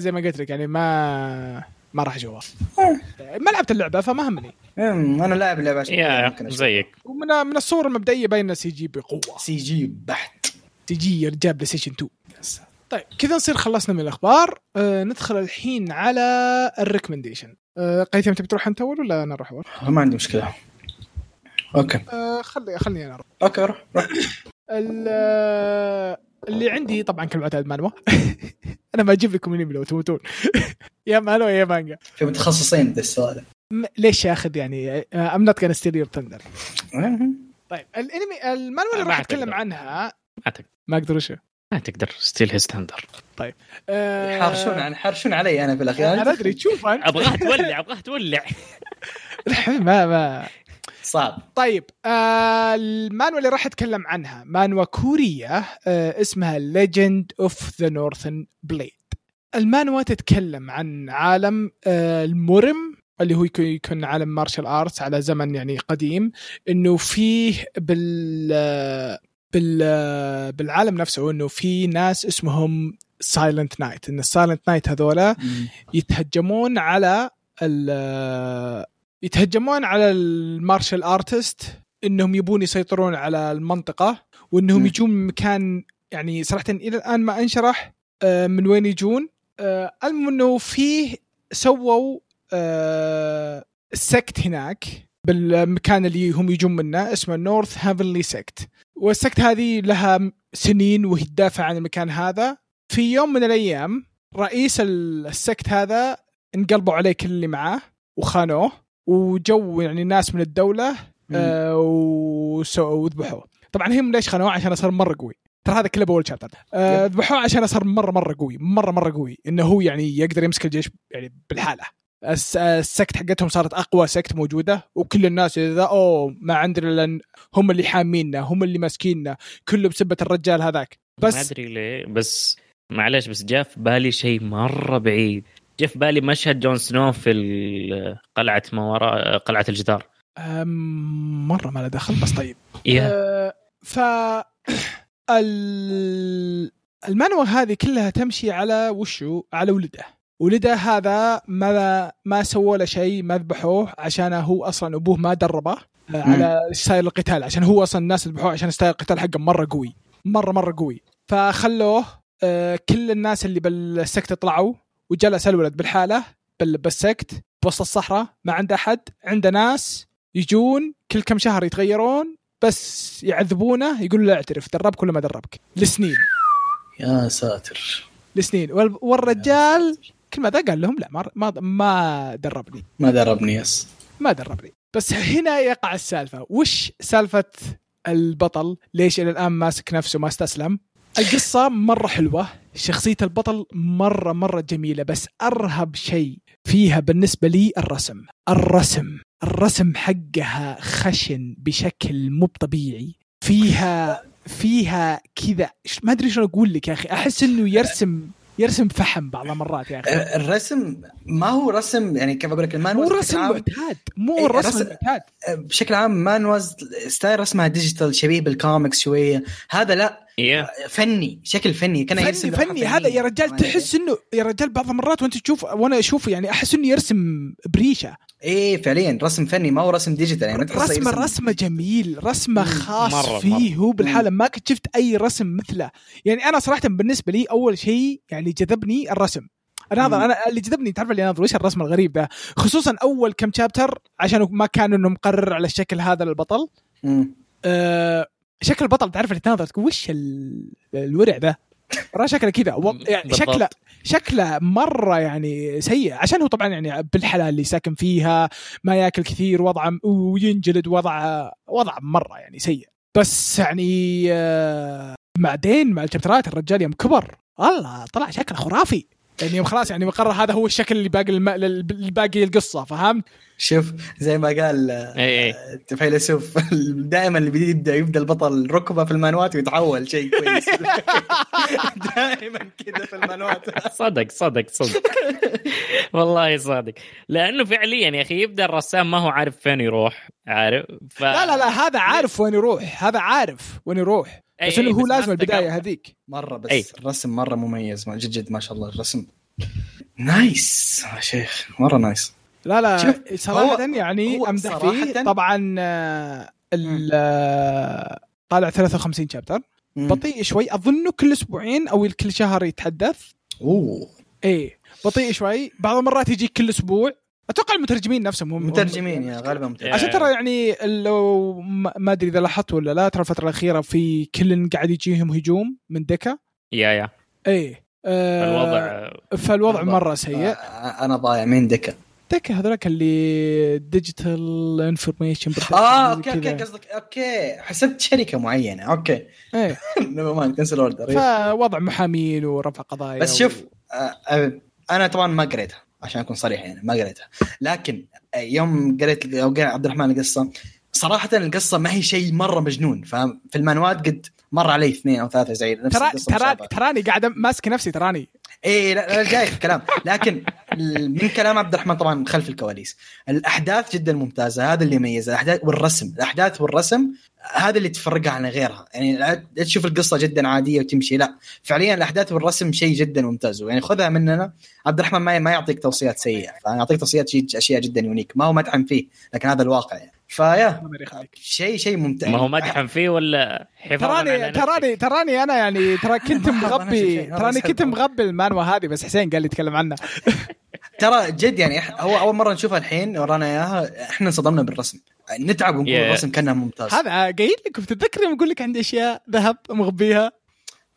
A: زي ما قلت لك يعني ما ما راح اشوفه ما لعبت اللعبه فما همني
B: أمم، انا لاعب اللعبه عشان كذا
C: يا
B: ممكن أشوف.
C: زيك
A: ومن من الصور المبدئيه باين سي جي بقوه
B: سي جي بحت
A: تجي رجال بلاي ستيشن 2 طيب كذا نصير خلصنا من الاخبار آه ندخل الحين على الريكومنديشن آه قيثم تبي تروح انت اول ولا انا اروح اول؟
B: ما عندي مشكله اوكي
A: آه خلي خليني انا اروح
B: اوكي روح روح
A: ال- آه، اللي عندي طبعا كالمعتاد مانوا انا ما اجيب لكم انمي لو تموتون يا مانوا يا مانجا
B: في متخصصين ذا السؤال
A: م- ليش اخذ يعني ام نوت كان ستيل يور ثندر طيب الانمي المانوا اللي
C: ما
A: راح
C: أعتقد.
A: اتكلم عنها
C: ما تقدر
A: ما اقدر وش
C: ما تقدر ستيل هيز ثندر
A: آه،
B: حارشون عن حارشون علي انا في الاخير
A: انا ادري تشوف أنت.
C: ابغاه تولع ابغاه تولع
A: ما ما
B: صعب
A: طيب آه المانوا اللي راح اتكلم عنها مانوا كوريه آه اسمها ليجند اوف ذا نورثن بليد المانوا تتكلم عن عالم آه المرم اللي هو يكون- يكون عالم مارشال ارتس على زمن يعني قديم انه فيه بال آه، بال آه، بالعالم نفسه انه في ناس اسمهم سايلنت نايت ان السايلنت نايت هذولا يتهجمون على ال يتهجمون على المارشال ارتست انهم يبون يسيطرون على المنطقه وانهم
B: مم.
A: يجون من مكان يعني صراحه الى الان ما انشرح آه، من وين يجون آه، المهم انه فيه سووا آه، سكت هناك بالمكان اللي هم يجون منه اسمه نورث هافنلي سكت والسكت هذه لها سنين وهي تدافع عن المكان هذا في يوم من الايام رئيس ال- السكت هذا انقلبوا عليه كل اللي معاه وخانوه وجو يعني ناس من الدوله آه، وسو- وذبحوه طبعا هم ليش خانوه عشان صار مره قوي ترى هذا كله باول شابتر آه، ذبحوه عشان صار مره مره قوي مره مره قوي انه هو يعني يقدر يمسك الجيش يعني بالحاله الس- السكت حقتهم صارت اقوى سكت موجوده وكل الناس اذا اوه ما عندنا لان هم اللي حامينا هم اللي ماسكيننا كله بسبه الرجال هذاك
C: بس ما
A: بس
C: ادري ليه بس معلش بس جاء في بالي شيء مره بعيد جاء في بالي مشهد جون سنو في ال- قلعه ما وراء قلعه الجدار
A: أم، مره آه، ما له دخل بس طيب
C: يا
A: آه، ف ال- المانوا هذه كلها تمشي على وشو على ولده ولده هذا ما ما سووا له شيء ما ذبحوه عشان هو اصلا ابوه ما دربه آه، على ستايل القتال عشان هو اصلا الناس ذبحوه عشان ستايل القتال حقه مره قوي مره مره قوي فخلوه آه، كل الناس اللي بالسكت طلعوا وجلس الولد بالحاله بال- بالسكت بوسط الصحراء ما عنده احد عنده ناس يجون كل كم شهر يتغيرون بس يعذبونه يقول له اعترف دربك ولا ما دربك لسنين
B: يا ساتر
A: لسنين وال- والرجال كل ما ذا قال لهم لا ما ما, ما دربني
B: ما دربني يس
A: ما دربني بس هنا يقع السالفه وش سالفه البطل ليش الى الان ماسك نفسه ما استسلم القصه مره حلوه شخصيه البطل مره مره جميله بس ارهب شيء فيها بالنسبه لي الرسم الرسم الرسم حقها خشن بشكل مو طبيعي فيها فيها كذا ش- ما ادري شلون اقول لك يا اخي احس انه يرسم يرسم فحم بعض المرات يا اخي
B: الرسم ما هو رسم يعني كيف اقول لك
A: مو
B: المانوز بشكل
A: رسم
B: عام-
A: معتاد
B: إيه،
A: مو رسم
B: رسم-
A: معتاد
B: بشكل عام مانوز ستايل رسمها ديجيتال شبيه بالكوميكس شويه هذا لا
C: يا
B: فني شكل فني كان
A: فني
B: يرسم لوحة
A: فني
B: فنية.
A: هذا يا رجال
B: فاهم علي؟
A: تحس انه يا رجال بعض المرات وانت تشوف وانا اشوفه يعني احس انه يرسم بريشه
B: ايه فعليا رسم فني ما هو رسم ديجيتال يعني ما تحسه
A: رسمه
B: يرسم-
A: رسمه جميل رسمه
B: مم،
A: خاص
C: مرة- مرة.
A: فيه هو بالحاله ما كنت شفت اي رسم مثله يعني انا صراحه بالنسبه لي اول شيء يعني جذبني الرسم انا هذا
B: مم.
A: انا اللي جذبني تعرف اللي اناظر وش الرسم الغريب ذا خصوصا اول كم شابتر عشان ما كان انه مقرر على الشكل هذا للبطل
B: مم.
A: أه شكل البطل تعرف اللي تناظر تقول وش ال- الورع ذا ترى شكله كذا و- يعني
C: بالضبط.
A: شكله شكله مره يعني سيء عشان هو طبعا يعني بالحلال اللي ساكن فيها ما ياكل كثير وضعه وينجلد وضعه وضعه مره يعني سيء بس يعني آه، بعدين مع الشابترات الرجال يوم كبر الله طلع شكله خرافي يعني يوم خلاص يعني مقرر هذا هو الشكل اللي باقي الم... اللي باقي القصه فهمت؟
B: شوف زي ما قال آه،
C: اي اي
B: فيلسوف دائما اللي بيبدا يبدا البطل ركبه في المانوات ويتحول شيء كويس دائما كذا في المانوات
C: صدق صدق صدق والله صادق لانه فعليا يا اخي يبدا الرسام ما هو عارف فين يروح عارف ف...
A: لا لا لا هذا عارف وين يروح هذا عارف وين يروح
C: أي-
B: إيه،
A: بس انه
C: أي،
A: هو
C: إيه، بس ما
A: لازم البدايه
C: استقر.
A: هذيك
B: مره بس
C: أي.
B: الرسم مره مميز جد جد ما شاء الله الرسم نايس يا شيخ مره نايس
A: لا لا
B: شوف،
A: صراحة
B: هو-
A: يعني
B: هو
A: امدح فيه
B: صراحة-
A: طبعا آه، ال
B: مم.
A: آه، طالع 53 شابتر
B: مم.
A: بطيء شوي اظنه كل اسبوعين او كل شهر يتحدث إيه،
B: اوه
A: ايه بطيء شوي بعض المرات يجيك كل اسبوع اتوقع المترجمين نفسهم هم
B: مترجمين يا غالبا مترجمين
A: عشان ترى يعني لو ما ما ادري اذا لاحظت ولا لا ترى الفتره الاخيره في كل قاعد يجيهم هجوم من دكا
C: يا يا
A: اي آه،
C: الوضع
A: فالوضع مره سيء
B: آه، انا ضايع مين دكا
A: دكا هذولك اللي ديجيتال انفورميشن
B: اه اوكي اوكي قصدك اوكي حسبت شركه معينه اوكي
A: ايه
B: نيفر مايند كنسل اوردر
A: فوضع محامين ورفع قضايا
B: طيب. بس شوف آه، انا طبعا ما قريتها عشان اكون صريح يعني ما قريتها لكن آه، يوم قريت أو قريت عبد الرحمن القصه صراحه القصه ما هي شيء مره مجنون فاهم في المانوات قد مر علي اثنين او ثلاثه زي نفس
A: ترى
B: القصه
A: ترى
B: مشابهة.
A: تراني قاعد ماسك نفسي تراني
B: اي إيه، لا لا جاي في الكلام لكن من كلام عبد الرحمن طبعا خلف الكواليس الاحداث جدا ممتازه هذا اللي يميز الاحداث والرسم الاحداث والرسم هذا اللي تفرقها عن غيرها يعني لا تشوف القصه جدا عاديه وتمشي لا فعليا الاحداث والرسم شيء جدا ممتاز يعني خذها مننا عبد الرحمن ما ما يعطيك توصيات سيئه فيعطيك توصيات شيء اشياء جدا يونيك ما هو مدعم فيه لكن هذا الواقع يعني فيا
A: الله يخليك.
B: شيء شيء ممتع
C: ما هو مدحم فيه ولا حفاظا على
A: تراني
C: نفسه؟
A: تراني تراني انا يعني ترى كنت
B: ما- ما- ما نفس
A: مغبي
B: الشيء. أنا
A: تراني
B: نفس
A: كنت
B: الشيء.
A: مغبي المانوا هذه بس حسين قال لي يتكلم عنها
B: ترى جد يعني إح- هو اول مره نشوفها الحين ورانا اياها احنا انصدمنا بالرسم نتعب ونقول
C: Yeah.
B: الرسم كانها ممتاز
A: هذا قايل لكم تتذكر يوم اقول لك عندي اشياء ذهب مغبيها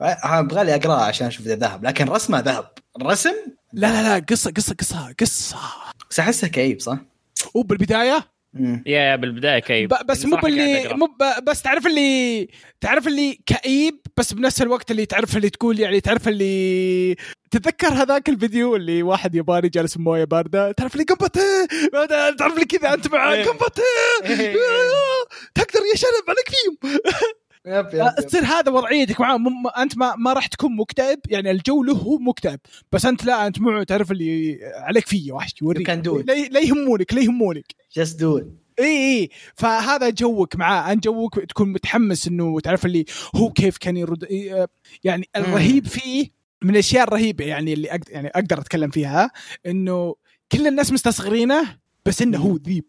B: ابغى لي اقراها عشان اشوف اذا ذهب لكن رسمه ذهب الرسم
A: لا لا لا قصه قصه قصه قصه
B: بس احسها كئيب صح؟
A: وبالبدايه
B: مم.
C: يا يا بالبدايه
B: إيه،
C: كيف
A: ب- بس مو
B: يعني
A: باللي مو ب- بس تعرف اللي تعرف اللي كئيب بس بنفس الوقت اللي تعرف اللي تقول يعني تعرف اللي تتذكر هذاك الفيديو اللي واحد ياباني جالس بمويه بارده تعرف اللي قنبته تعرف اللي كذا انت معاه
B: إيه.
A: قنبته
B: إيه.
A: تقدر يا شنب عليك فيهم
B: يب يب يب.
A: تصير هذا وضعيتك معاه مم- انت ما, ما راح تكون مكتئب يعني الجو له هو مكتئب بس انت لا انت معه تعرف اللي عليك فيه وحش يوريك
B: You can do it.
A: لا لا يهمونك لا يهمونك
B: Just do it.
A: اي اي فهذا جوك معاه انت جوك تكون متحمس انه تعرف اللي هو كيف كان يرد إي- آه، يعني الرهيب فيه من الاشياء الرهيبه يعني اللي أقدر يعني اقدر اتكلم فيها انه كل الناس مستصغرينه بس انه هو ذيب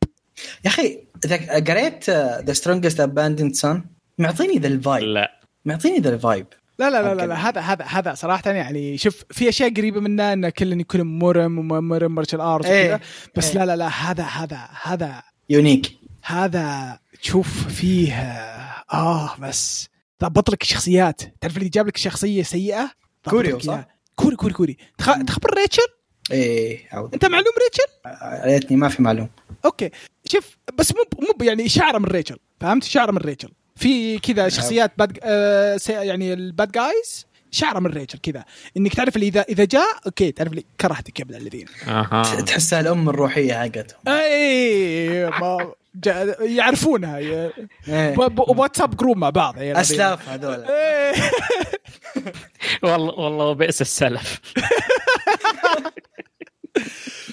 B: يا اخي اذا قريت uh, ذا سترونجست اباندنت سن معطيني ذا الفايب
C: لا
B: معطيني ذا الفايب
A: لا لا لا لا,
B: أوكي.
A: لا هذا هذا هذا صراحه يعني شوف في اشياء قريبه منه انه كلن يكون مرم ومرم مارشال ارت وكذا
B: ايه
A: بس
B: إيه.
A: لا لا لا هذا هذا هذا
B: يونيك
A: هذا تشوف فيه اه بس ضبط لك الشخصيات تعرف اللي جاب لك شخصيه سيئه ضبط
B: كوريو،
A: لك
B: صح؟
A: إياها. كوري كوري كوري تخ...
B: مم.
A: تخبر ريتشل
B: ايه عود
A: انت معلوم ريتشل
B: ريتني ما في معلوم
A: اوكي شوف بس مو مو يعني شعره من ريتشل فهمت شعره من ريتشل في
B: نعم.
A: كذا شخصيات باد آه سي- يعني الباد جايز شعره من ريتشل كذا انك تعرف اللي اذا اذا جاء اوكي تعرف اللي كرهتك يا ابن الذين
C: اها
B: تحسها الام الروحيه حقتهم
A: اي ما جا- يعرفونها ي-
B: إيه.
A: ب- ب- واتساب جروب مع بعض يا الذين.
B: اسلاف هذول
A: إيه.
C: والله والله وبئس السلف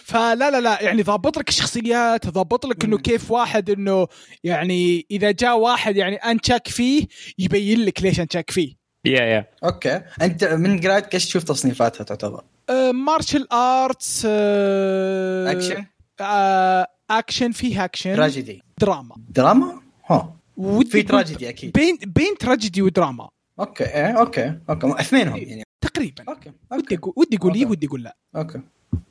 A: فلا لا لا يعني ضابط لك الشخصيات ضابط لك انه
B: مم.
A: كيف واحد انه يعني اذا جاء واحد يعني انت شاك فيه يبين لك ليش انت شاك فيه
C: يا يا
B: اوكي انت من قرايتك ايش تشوف تصنيفاتها تعتبر؟
A: آه، مارشال ارتس آه،
B: اكشن
A: آه، اكشن فيه اكشن
B: تراجيدي
A: دراما
B: دراما؟ ها
A: ودي
B: في
A: يكون
B: تراجيدي اكيد
A: بين بين تراجيدي ودراما
B: اوكي ايه اوكي اوكي اثنينهم يعني
A: تقريبا
B: اوكي
A: ودي
B: اوكي
A: أقول- ودي اقول ايه
B: أوكي.
A: ودي اقول لا
B: اوكي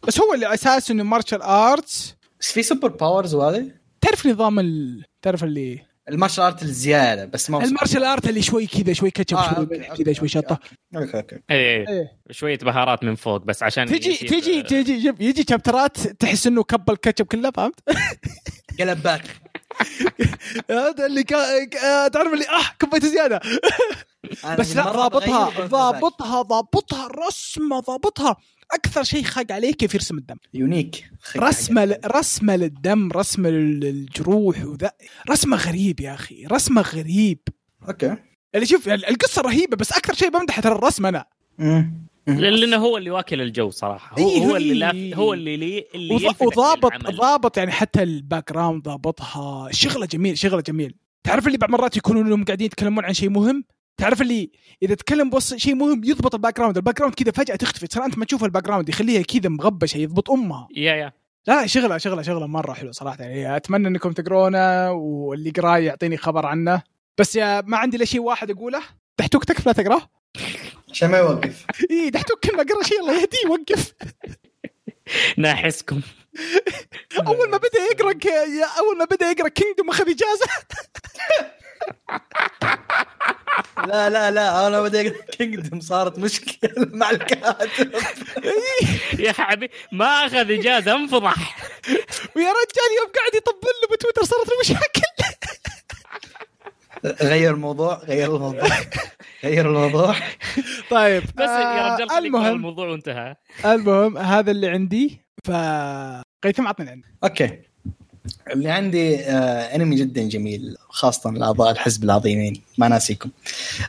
A: بس هو الاساس انه مارشال ارتس
B: بس في سوبر باورز وهذه
A: تعرف نظام ال... تعرف اللي
B: المارشال ارت الزياده بس ما هو
A: المارشال ارت اللي شوي كذا شوي كاتشب
B: آه،
A: شوي
B: أوكي،
A: ملح
B: أوكي،
A: كذا شوي
B: أوكي،
A: شطه
B: اوكي اوكي
C: اي إي.
A: إيه.
C: شويه بهارات من فوق بس عشان
A: تجي
C: يصير-
A: تجي تجي يجي- يجي شابترات تحس انه كب الكاتشب كله فهمت؟
B: قلب باك
A: هذا اللي كا... كا- تعرف اللي اه كبيت زياده
B: أنا
A: بس لا
B: مرة بغير
A: ضابطها
B: قلب باك.
A: ضابطها ضابطها الرسمه ضابطها اكثر شيء خاق عليه كيف يرسم الدم
B: يونيك خي-
A: رسمه ل...
B: حاجة.
A: رسمه للدم رسمه لل- للجروح وذا رسمه غريب يا اخي رسمه غريب
B: اوكي
A: اللي شوف يعني القصه رهيبه بس اكثر شيء بمدحه ترى الرسم انا
B: أمم. أمم.
C: لانه هو اللي واكل الجو صراحه هو,
A: إيه،
C: هو اللي
A: إيه.
C: لاف... هو اللي لي اللي
A: وض-
C: يلفتك
A: وضابط
C: للعمل.
A: ضابط يعني حتى الباك جراوند ضابطها شغله جميل شغله جميل تعرف اللي بعض مرات يكونوا انهم قاعدين يتكلمون عن شيء مهم تعرف اللي اذا تكلم بوص شيء مهم يضبط الباك جراوند الباك جراوند كذا فجاه تختفي تصير انت ما تشوف الباك جراوند يخليها كذا مغبشه يضبط امها
C: يا يا
A: لا لا شغله شغله شغله مره حلو صراحه يعني اتمنى انكم تقرونه واللي يقراه يعطيني خبر عنه بس يا ما عندي الا شيء واحد اقوله دحتوك تكفى لا تقراه
B: عشان ما يوقف
A: اي دحتوك كل ما قرا شيء الله يهديه يوقف
C: ناحسكم
A: اول ما بدا يقرا ك- يا اول ما بدا يقرا كينجدوم اخذ اجازه
B: لا لا لا انا بدي كينجدم صارت مشكله مع الكاتب
C: يا حبيبي ما اخذ اجازه انفضح
A: ويا رجال يوم قاعد يطبل له بتويتر صارت له مشاكل
B: غير الموضوع غير الموضوع غير الموضوع
A: طيب
C: بس يا رجال
A: آه
C: خليك من
A: المهم
C: الموضوع وانتهى
A: المهم هذا اللي عندي ف قيثم عطني عندي
B: اوكي اللي عندي آه انمي جدا جميل خاصه لاعضاء الحزب العظيمين ما ناسيكم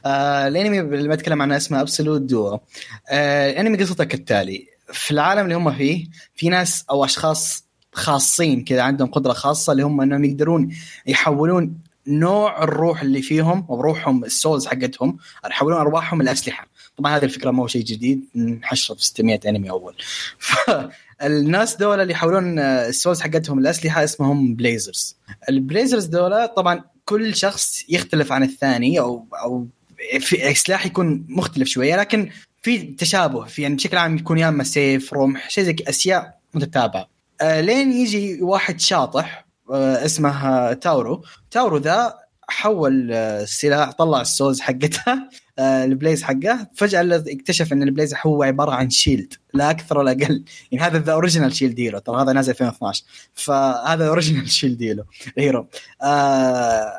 B: آه الانمي اللي بتكلم عنه اسمه ابسولوت دو آه الانمي قصته كالتالي في العالم اللي هم فيه في ناس او اشخاص خاصين كذا عندهم قدره خاصه اللي هم انهم يقدرون يحولون نوع الروح اللي فيهم او روحهم السولز حقتهم يحولون ارواحهم لاسلحه طبعا هذه الفكره ما هو شيء جديد انحشرت في 600 انمي اول فالناس دول اللي يحولون السولز حقتهم الاسلحه اسمهم بليزرز البليزرز دول طبعا كل شخص يختلف عن الثاني او او في سلاح يكون مختلف شويه لكن في تشابه في يعني بشكل عام يكون يا اما سيف رمح شيء زي كده، اشياء متتابعه آه، لين يجي واحد شاطح آه، اسمه آه، تاورو تاورو ذا حول آه، السلاح طلع السوز حقتها آه، البليز حقه فجاه الذي اكتشف ان البليز هو عباره عن شيلد لا اكثر ولا اقل يعني هذا ذا اوريجينال شيلد هيرو ترى هذا نازل 2012 فهذا اوريجينال شيلد هيرو هيرو آه،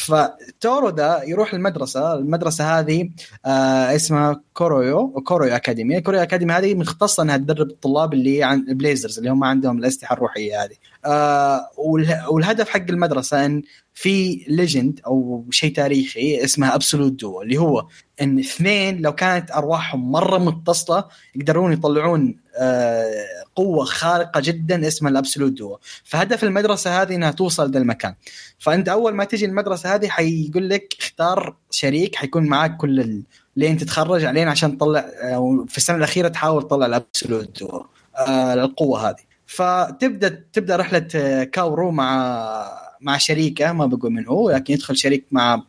B: فتورو ده يروح المدرسه المدرسه هذه آه اسمها كوريو كوريو اكاديمي كوريو اكاديمي هذه مختصه انها تدرب الطلاب اللي عن البليزرز اللي هم عندهم الاسلحه الروحيه هذه آه واله- والهدف حق المدرسه ان في ليجند او شيء تاريخي اسمها ابسولوت دو اللي هو ان اثنين لو كانت ارواحهم مره متصله يقدرون يطلعون آه قوه خارقه جدا اسمها الابسولوت دو فهدف المدرسه هذه انها توصل ذا المكان فانت اول ما تجي المدرسه هذه حيقول لك اختار شريك حيكون معاك كل ال... لين تتخرج علينا عشان تطلع أو في السنه الاخيره تحاول تطلع الابسولوت دور آه القوه هذه فتبدا تبدا رحله آه، كاورو مع مع شريكه ما بقول من هو لكن يدخل شريك مع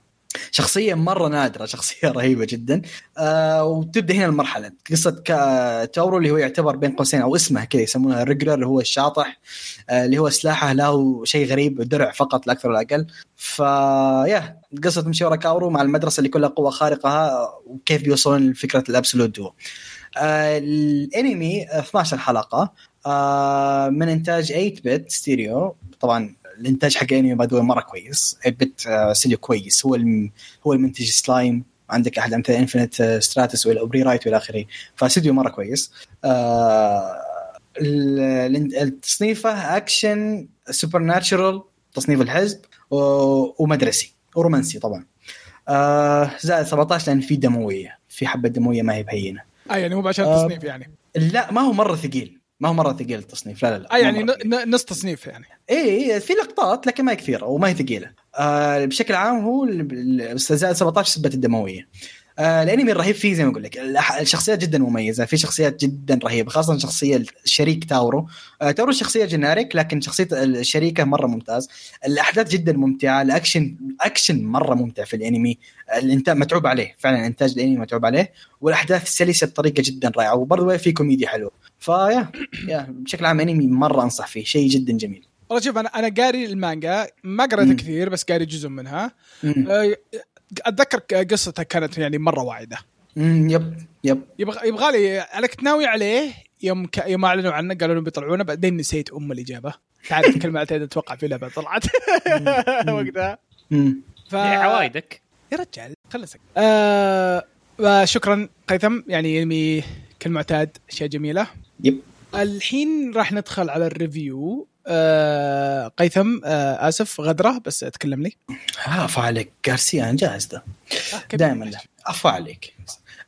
B: شخصيه مره نادره شخصيه رهيبه جدا آه وتبدا هنا المرحله قصه كا- تاورو اللي هو يعتبر بين قوسين او اسمه كذا يسمونه الريجلر اللي هو الشاطح آه اللي هو سلاحه له شيء غريب درع فقط لا اكثر ولا اقل فيا قصه تمشي ورا كاورو مع المدرسه اللي كلها قوه خارقه ها، وكيف بيوصلون لفكره الابسولوت دو آه، الانمي 12 حلقه آه، من انتاج 8 بت ستيريو طبعا الانتاج حق الانمي باي ذا مره كويس 8 بت آه، ستيريو كويس هو الم... هو المنتج سلايم عندك احد امثله انفنت ستراتس والى اوبري رايت والى اخره فاستديو مره كويس آه، ال- الان- التصنيفه اكشن سوبر ناتشرال تصنيف الحزب و- ومدرسي ورومانسي طبعا آه زائد 17 لان في دمويه في حبه دمويه ما هي بهينه
A: اه يعني مو عشان
B: آه.
A: تصنيف يعني
B: لا ما هو مره ثقيل ما هو مره ثقيل التصنيف لا لا لا
A: اه يعني
B: ما هو مرة
A: ن- ن- نص تصنيف يعني
B: اي إي، إيه، في لقطات لكن ما هي كثيره وما هي ثقيله آه بشكل عام هو ال- ال- زائد 17 سبه الدمويه آه الانمي الرهيب فيه زي ما اقول لك الأح- الشخصيات جدا مميزه في شخصيات جدا رهيبه خاصه شخصيه الشريك تاورو آه تاورو شخصيه جناريك لكن شخصيه الشريكه مره ممتاز الاحداث جدا ممتعه الاكشن اكشن مره ممتع في الانمي الانتاج متعوب عليه فعلا انتاج الانمي متعوب عليه والاحداث سلسه بطريقه جدا رائعه وبرضه في كوميديا حلوه فيا يا بشكل عام انمي مره انصح فيه شيء جدا جميل
A: والله شوف انا انا قاري المانجا ما قريتها
B: مم.
A: كثير بس قاري جزء منها
B: مم.
A: آه، اتذكر ك- قصتها كانت يعني مره واعده
B: امم يب يب
A: يبغى يبغى لي انا كنت ناوي عليه يوم ك... يوم اعلنوا عنه قالوا لهم بيطلعونه بعدين نسيت ام الاجابه تعرف كلمتين اتوقع في لعبه طلعت وقتها
B: امم
A: ف...
C: يا عوايدك
A: يا رجال خلصك آه... شكرا قيثم يعني يلمي كالمعتاد اشياء جميله
B: يب
A: الحين راح ندخل على الريفيو آه... قيثم آه... اسف غدره بس اتكلم لي
B: عفا عليك جارسيا انا جاهز ده
A: آه، كيف-
B: دائما عفا عليك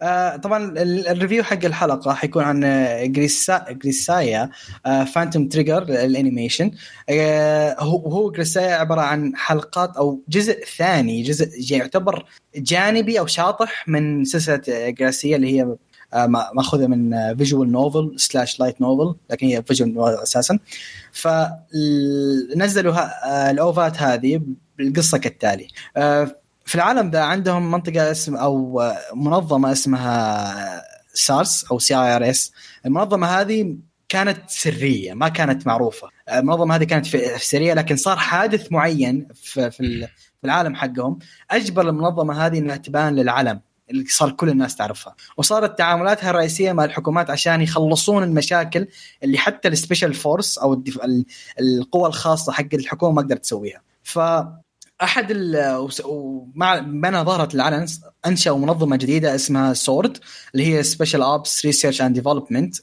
B: آه طبعا ال- الريفيو حق الحلقه حيكون عن آه، جريسا جريسايا آه فانتوم تريجر الانيميشن آه هو هو جريسايا عباره عن حلقات او جزء ثاني جزء يعني يعتبر جانبي او شاطح من سلسله آه، جريسيا اللي هي آه، ما- ماخوذه من آه، فيجوال نوفل سلاش لايت نوفل لكن هي فيجوال نوفل اساسا فنزلوا الاوفات آه، هذه بالقصه كالتالي آه، في العالم ذا عندهم منطقه اسم او آه، منظمه اسمها سارس او سي اي ار اس المنظمه هذه كانت سريه ما كانت معروفه المنظمه هذه كانت في في سريه لكن صار حادث معين في في ال- في العالم حقهم اجبر المنظمه هذه انها تبان للعلم اللي صار كل الناس تعرفها وصارت تعاملاتها الرئيسيه مع الحكومات عشان يخلصون المشاكل اللي حتى السبيشال فورس او الدف... ال- القوى الخاصه حق الحكومه ما قدرت تسويها ف احد ال... وس- ومع منها ظهرت العلن انشأوا منظمه جديده اسمها سورد اللي هي سبيشال اوبس ريسيرش اند ديفلوبمنت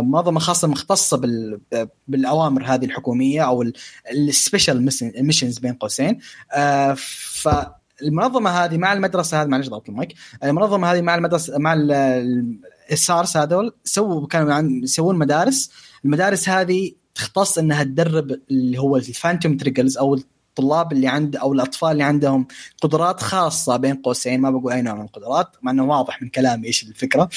B: منظمه خاصه مختصه بال... بالاوامر هذه الحكوميه او السبيشال ميشنز بين قوسين آه، فالمنظمه هذه مع المدرسه هذه معلش ضغط المايك المنظمه هذه مع المدرسه مع ال- ال- السارس هذول سووا كانوا عن- يسوون مدارس المدارس هذه تختص انها تدرب اللي هو الفانتوم تريجلز او الطلاب اللي عند او الاطفال اللي عندهم قدرات خاصه بين قوسين ما بقول اي نوع من القدرات مع انه واضح من كلامي ايش الفكره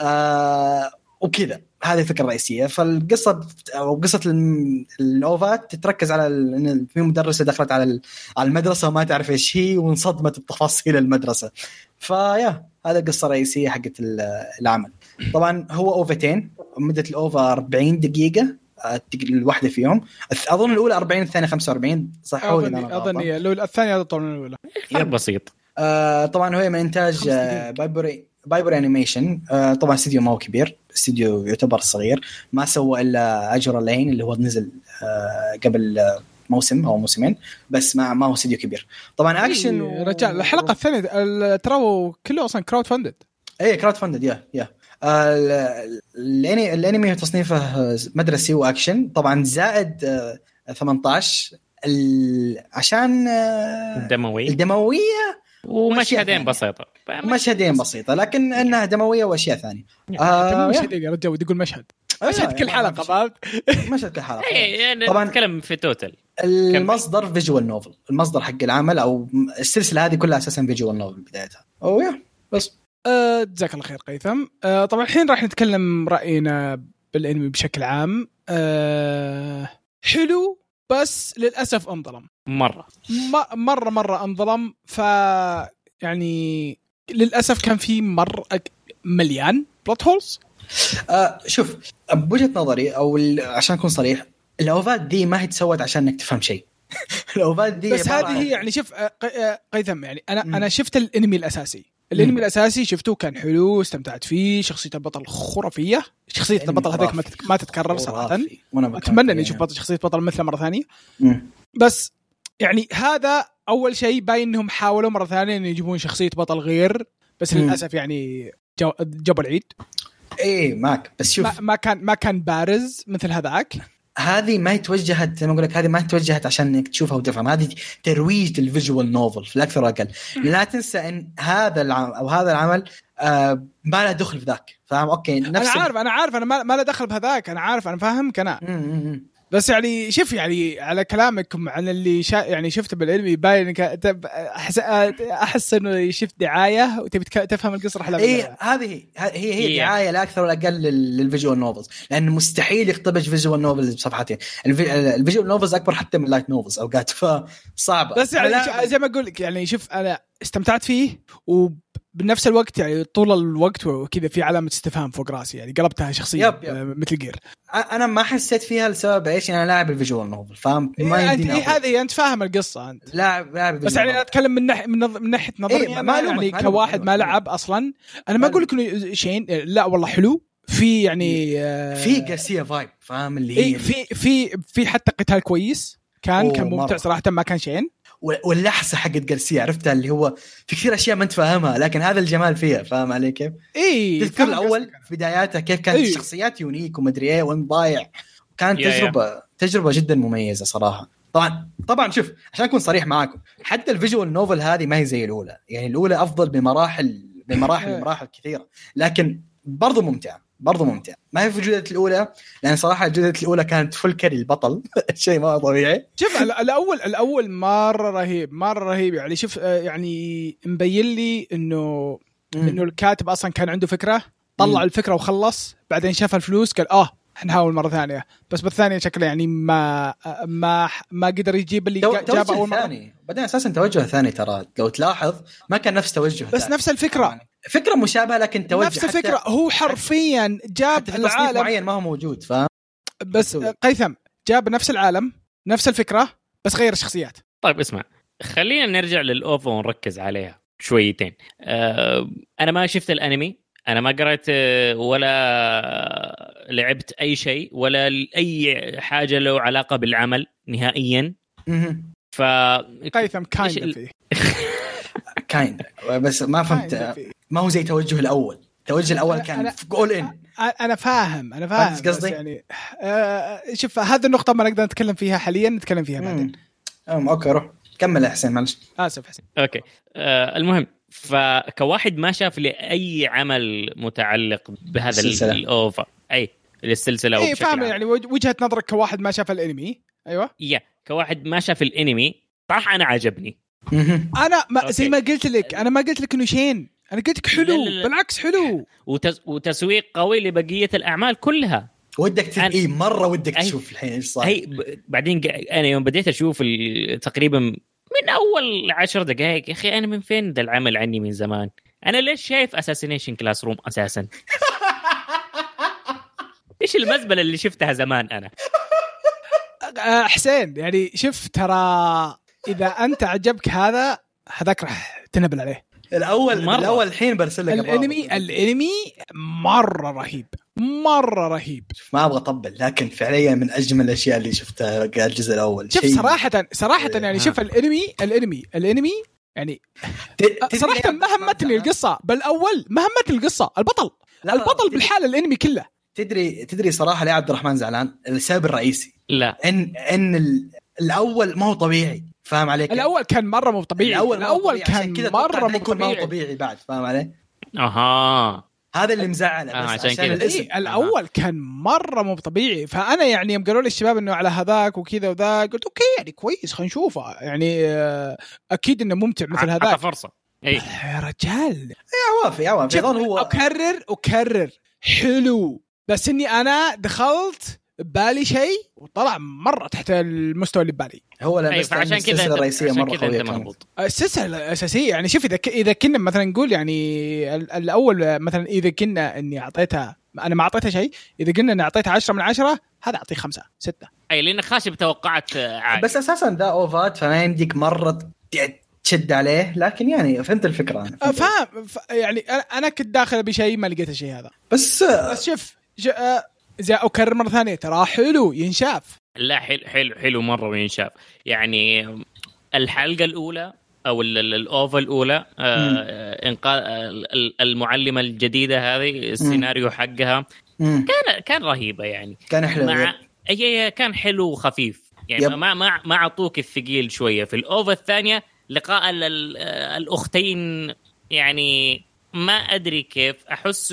B: آه وكذا هذه الفكره الرئيسيه فالقصه او قصه الم- الاوفات تتركز على ال- ان في مدرسه دخلت على ال- على المدرسه وما تعرف ايش هي وانصدمت بتفاصيل المدرسه فيا هذا القصه الرئيسيه حقت ال- العمل طبعا هو اوفتين مده الاوفا 40 دقيقه آه، الواحده في يوم اظن الاولى 40 الثانيه 45 صح حولي إذا أنا
A: اظني
B: غلطان.
A: اظني لو الثانيه هذا طول من الاولى
C: فرق بسيط
B: آه طبعا هو من
A: خمس
B: انتاج
A: دقايق.
B: آه، بايبر بايبر انيميشن آه طبعا استديو ما هو كبير استديو يعتبر صغير ما سوى الا اجر لين اللي هو نزل آه قبل آه، موسم او موسمين بس ما ما هو استديو كبير طبعا اكشن
A: إيه، رجال الحلقه الثانيه ال- ترى كله اصلا كراود فندد
B: اي كراود فاندد يا يا آه، ال- ال- الاني- الانمي تصنيفه آه، مدرسي واكشن طبعا زائد آه، 18 ال- عشان آه،
C: دموي
B: الدموية
C: ومشهدين
B: ثانية.
C: بسيطه فما-
B: مشهدين بسيطه لكن انها دمويه واشياء ثانيه
A: تمام
B: آه،
A: مشهد يا رجال ودي يقول مشهد مشهد كل حلقه فهمت
B: مشهد كل حلقه
C: إيه، يعني
B: طبعاً.
C: نتكلم في توتل
B: المصدر فيجوال نوفل المصدر حق العمل او السلسله هذه كلها اساسا فيجوال نوفل بدايتها او يا بس
A: آه، جزاك الله خير قيثم آه، طبعا الحين راح نتكلم راينا بالانمي بشكل عام آه، حلو بس للاسف انظلم
C: مره
A: م- مره مره انظلم ف يعني للاسف كان في مر مليان بلوت هولز
B: آه شوف بوجهه نظري او ال- عشان اكون صريح الاوفات دي ما هي تسوت عشان انك تفهم شيء الاوفات دي
A: بس
B: عبارة
A: هذه
B: عن-
A: هي يعني شوف آه، قي- آه، قيثم يعني انا
B: مم.
A: انا شفت الانمي الاساسي الانمي الاساسي شفته كان حلو استمتعت فيه شخصيه البطل خرافيه شخصيه
B: أنمي
A: البطل هذاك ما
B: خرافي.
A: تت- ما تتكرر صراحه
B: خرافي. وانا بكرهك
A: اتمنى اني
B: يعني.
A: اشوف بطل شخصيه بطل مثله مره ثانيه
B: مم.
A: بس يعني هذا اول شيء باين انهم حاولوا مره ثانيه ان يجيبون شخصيه بطل غير بس
B: مم.
A: للاسف يعني جو- جابوا العيد
B: ايه معك بس شوف
A: ما, ما كان ما كان بارز مثل هذاك
B: هذه ما هي توجهت زي ما اقول لك هذه ما هي توجهت عشان انك تشوفها وتفهم هذه ترويج الفيجوال نوفل في الاكثر والاقل لا تنسى ان هذا العمل او هذا العمل آه ما له دخل في ذاك فاهم اوكي نفس
A: انا
B: ال-
A: عارف انا عارف انا ما, ما له دخل بهذاك انا عارف انا فاهمك انا
B: مم، مم، مم.
A: بس يعني شوف يعني على كلامكم عن اللي شا يعني شفته بالانمي باين إنك- تب- احس احس انه شفت دعايه وتبي تك- تفهم القصه رح لا
B: اي هذه هي هي هي
C: هي.
B: دعايه لا اكثر ولا اقل لل- للفيجوال نوفلز لان مستحيل يختبج فيجوال نوفلز بصفحتين الفي- الفيجوال نوفلز اكبر حتى من اللايت نوفلز اوقات فصعبه
A: بس يعني
B: لا-
A: ش- زي ما اقول لك يعني شوف انا استمتعت فيه وبنفس الوقت يعني طول الوقت وكذا في علامه استفهام فوق راسي يعني قلبتها شخصيه
B: يب، يب.
A: آه، مثل جير
B: انا ما حسيت فيها لسبب ايش انا لاعب الفيجوال نوفل فاهم ما
A: إيه، انت
B: يديني
A: إيه
B: أقول.
A: هذه انت فاهم القصه انت
B: لاعب لاعب
A: بس
B: visual
A: يعني
B: novel.
A: انا اتكلم من ناحيه من, نظ... من ناحيه نظريه
B: إيه،
A: إيه
B: ما-
A: ما
B: ما
A: يعني
B: ألومك، ما
A: كواحد
B: ألومك،
A: ما
B: ما
A: لعب اصلا انا ما اقول لك انه شيء لا والله حلو في يعني آه،
B: في جارسيا فايب فاهم اللي
A: إيه
B: هي
A: في في في حتى قتال كويس كان
B: أوه،
A: كان ممتع
B: مرة.
A: صراحه ما كان شين
B: وال- واللحسه حقت جارسيا عرفتها اللي هو في كثير اشياء ما انت فاهمها لكن هذا الجمال فيها فاهم علي كيف؟
A: اي
B: تذكر الاول في بداياتها كيف كانت
A: إيه.
B: الشخصيات يونيك ومدري ايه وين ضايع كانت
C: يا- يا.
B: تجربه تجربه جدا مميزه صراحه طبعا طبعا شوف عشان اكون صريح معاكم حتى الفيجوال نوفل هذه ما هي زي الاولى يعني الاولى افضل بمراحل
A: إيه.
B: بمراحل مراحل كثيره لكن برضو ممتعه برضو ممتعه ما هي في جوده الاولى لان صراحه جوده الاولى كانت فل كري البطل شيء ما طبيعي
A: شوف ال- الاول الاول مره رهيب مره رهيب يعني شوف آه، يعني مبين لي انه انه الكاتب اصلا كان عنده فكره طلع
B: مم.
A: الفكره وخلص بعدين شاف الفلوس قال اه حنحاول مره ثانيه بس بالثانيه شكله يعني ما ما ما قدر يجيب اللي
B: تو-
A: جا- جابه
B: توجه
A: اول مره
B: ثاني بعدين اساسا توجه ثاني ترى لو تلاحظ ما كان نفس توجه
A: بس
B: ثاني.
A: نفس الفكره
B: فكره مشابهه لكن آه، توجه
A: نفس
B: حتى-
A: الفكره هو حرفيا جاب
B: حتى في تصنيف
A: العالم
B: معين ما هو موجود فاهم
A: بس
B: مسوي.
A: قيثم جاب نفس العالم نفس الفكره بس غير الشخصيات
C: طيب اسمع خلينا نرجع للاوفا ونركز عليها شويتين أه انا ما شفت الانمي انا ما قرأت آه، ولا لعبت اي شيء ولا اي حاجه له علاقه بالعمل نهائيا ف
A: قيثم
C: إيش
A: كايند
C: ال-
A: فيه
B: كايند بس ما
A: kinda
B: فهمت
A: فيه.
B: ما هو زي توجه الاول التوجه الاول
A: أنا-
B: كان
A: أنا-
B: في اول ان
A: أ- انا فاهم انا فاهم بس
B: فهمت قصدي؟
A: يعني آه، شوف هذه النقطه ما نقدر نتكلم فيها حاليا نتكلم فيها بعدين
B: أم، اوكي روح كمل يا حسين معلش
A: اسف حسين
C: اوكي آه المهم فكواحد ما شاف لاي عمل متعلق بهذا
B: السلسلة.
C: ال- الاوفا اي السلسله
A: اي
C: وبشكل
A: فاهم
C: عام.
A: يعني وج- وجهه نظرك كواحد ما شاف الانمي ايوه
C: يا كواحد ما شاف الانمي صراحه انا عجبني
B: مهم.
A: انا ما زي
C: أوكي. أه.
A: ما قلت لك انا ما قلت لك انه شين انا قلت لك
C: لا،
A: حلو
C: لا، لا.
A: بالعكس حلو
C: وتس... وتسويق قوي لبقيه الاعمال كلها
B: ودك تت...
C: أنا-
B: اي مره ودك
C: أي-
B: تشوف الحين ايش صار
C: هي ب... بعدين ق... انا يوم بديت اشوف ال... تقريبا من اول عشر دقائق يا اخي انا من فين ده العمل عني من زمان انا ليش شايف اساسينيشن كلاس روم اساسا ايش المزبله اللي شفتها زمان انا
A: آه، حسين يعني شوف ترى اذا انت عجبك هذا هذاك راح تنبل عليه
B: الاول
C: مرة.
B: الاول الحين برسل لك
A: الانمي
B: أبغى-
A: الانمي مره رهيب مره رهيب
B: ما ابغى اطبل لكن فعليا من اجمل الاشياء اللي شفتها الجزء الاول
A: شوف
B: شيء- إيه،
A: صراحه صراحه
C: ها.
A: يعني شوف الانمي الانمي الانمي يعني
B: ت-
A: صراحه
B: تدري-
A: ما همتني القصه بل اول ما همتني القصه البطل
B: لا، لا،
A: البطل
B: تدري-
A: بالحاله الانمي كله
B: تدري تدري صراحه ليه عبد الرحمن زعلان السبب الرئيسي
C: لا
B: ان ان ال- الاول ما هو طبيعي فاهم عليك
A: الاول كان مره مو طبيعي
B: الاول,
A: الاول,
B: ما هو طبيعي، عشان
A: كان
B: كذا أتوقع
A: مره
B: إنه
A: مو
B: يكون ما هو
A: طبيعي
B: طبيعي بعد فاهم علي
C: اها
B: هذا اللي مزعله بس
C: آه، عشان
B: عشان
C: كذا.
B: الاسم
A: إيه الاول كان مره مو طبيعي فانا يعني يوم قالوا لي الشباب انه على هذاك وكذا وذاك قلت اوكي يعني كويس خلينا نشوفه يعني آه، اكيد انه ممتع مثل
C: عطى إيه.
A: هذاك
C: فرصه اي
B: إيه.
A: يا رجال
B: عوافي عوافي يظل هو
A: اكرر اكرر حلو بس اني انا دخلت ببالي شيء وطلع مره تحت المستوى اللي ببالي
B: هو
C: أي،
B: لمسته
C: إيه، طيب، فعشان كذا
B: السلسله
C: أنت-
B: الرئيسيه
C: عشان
B: مره
C: كذا
B: قويه
C: انت
B: كانت.
C: مربوط
A: السلسله الاساسيه يعني شوف اذا ك- اذا كنا مثلا نقول يعني ال- الاول مثلا اذا كنا اني اعطيتها انا ما اعطيتها شيء اذا قلنا اني اعطيتها 10 من 10 هذا اعطيه خمسة ستة
C: اي لان إيه، خاشب توقعات آه، عاليه
B: بس
C: بس
B: اساسا ذا اوفات فما يمديك مره ت- تشد عليه لكن يعني فهمت الفكره انا
A: أه، فاهم ف- يعني أنا- انا كنت داخل بشيء ما لقيت الشيء هذا
B: بس آه،
A: بس شوف ج- أه، زي اكرر مره ثانيه ترى حلو ينشاف
C: لا حلو حلو حلو مره وينشاف يعني الحلقه الاولى او ال- ال- الاوفا الاولى آه انقاذ ال- ال- المعلمه الجديده هذه السيناريو حقها
B: مم،
C: كان كان رهيبه يعني
B: كان حلو
C: مع هي كان حلو وخفيف يعني
B: يب.
C: ما ما ما اعطوك الثقيل شويه في الاوفا الثانيه لقاء ال- ال- آه، الاختين يعني ما ادري كيف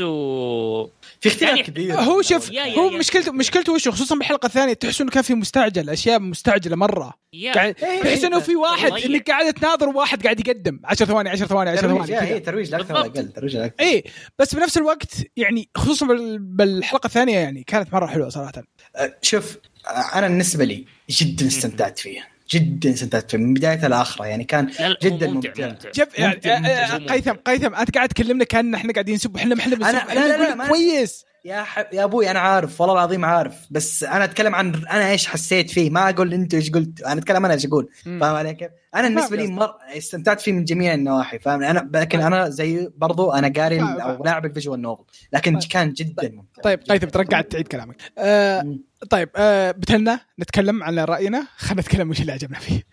C: احسه
B: في اختلاف
C: يعني
B: كبير
A: هو شوف
C: يا- يا-
A: هو
C: يا.
A: مشكلته مشكلته وش خصوصا بالحلقه الثانيه تحس انه كان في مستعجل اشياء مستعجله مره
C: يا-
A: قاعد
B: إيه،
A: تحس انه في واحد
C: تضيع.
A: انك قاعد تناظر واحد قاعد يقدم 10 ثواني 10 ثواني 10
B: ترويج
A: ثواني
B: يا، هي
A: كذا.
B: ترويج لا اكثر ولا
C: بالضبط. إيه.
B: اقل ترويج لا اكثر
A: اي بس بنفس الوقت يعني خصوصا بال- بالحلقه الثانيه يعني كانت مره حلوه صراحه
B: آه، شوف آه، انا بالنسبه لي جدا استمتعت فيها جدا استمتعت فيها من بدايتها لاخره يعني كان
C: لا لا، هو
B: جدا ممتع,
A: شوف يعني
B: ممتع، ممتع،
A: آه، آه،
C: ممتع.
A: قيثم قيثم انت قاعد تكلمنا كان احنا قاعدين نسب احنا ما احنا بنسب
B: أنا-
A: إحنا
B: لا، لا،
A: بنقول
B: لا، ما-
A: كويس
B: يا ح... يا ابوي انا عارف والله العظيم عارف بس انا اتكلم عن انا ايش حسيت فيه ما اقول انتوا ايش قلت انا اتكلم انا ايش اقول فاهم علي كيف؟ انا بالنسبه لي
A: قصدك. طيب.
B: مر... استمتعت فيه من جميع النواحي فاهم انا لكن انا زي برضو انا قاري
A: فاهم،
B: ال-
A: فاهم.
B: او لاعب الفيجوال نوفل لكن كان جدا ممتع
A: طيب قيثم ترى قاعد تعيد كلامك آه
B: مم.
A: طيب آه بتلنا نتكلم على راينا خلينا نتكلم وش اللي عجبنا فيه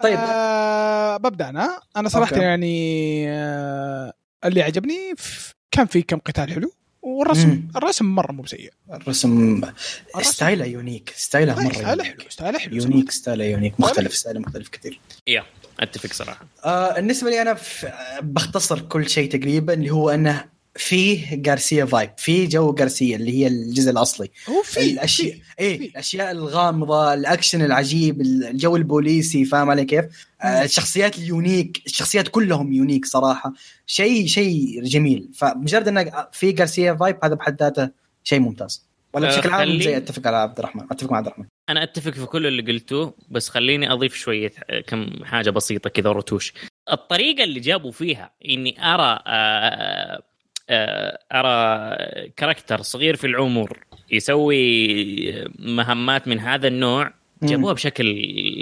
B: طيب
A: آه ببدا انا انا صراحه
B: أوكي.
A: يعني آه اللي عجبني ف- كان في كم قتال حلو والرسم
B: مم.
A: الرسم مره مو بسيء
B: الرسم
A: الرسم-
B: ستايله يونيك ستايله مره
A: ستايله
B: يونيك.
A: حلو ستايله حلو
B: يونيك ستايله
C: طيب.
B: يونيك مختلف ستايله مختلف كثير
C: يا اتفق صراحه
B: آه، بالنسبه لي انا ف- آه، بختصر كل شيء تقريبا اللي هو انه فيه غارسيا فايب فيه جو غارسيا اللي هي الجزء إيه، الاصلي
A: هو في
B: الاشياء
A: في.
B: اي
A: في.
B: الاشياء الغامضه الاكشن العجيب الجو البوليسي فاهم علي كيف؟ آه، الشخصيات اليونيك الشخصيات كلهم يونيك صراحه شيء شيء جميل فمجرد انه في غارسيا فايب هذا بحد ذاته شيء ممتاز ولا
C: آه،
B: بشكل عام
C: خلي-
B: زي اتفق على عبد الرحمن اتفق مع عبد الرحمن
C: انا اتفق في كل اللي قلتوه بس خليني اضيف شويه آه، كم حاجه بسيطه كذا رتوش الطريقه اللي جابوا فيها اني ارى آه، آه، ارى كاركتر صغير في العمر يسوي آه، مهمات من هذا النوع
B: مم.
C: جابوها بشكل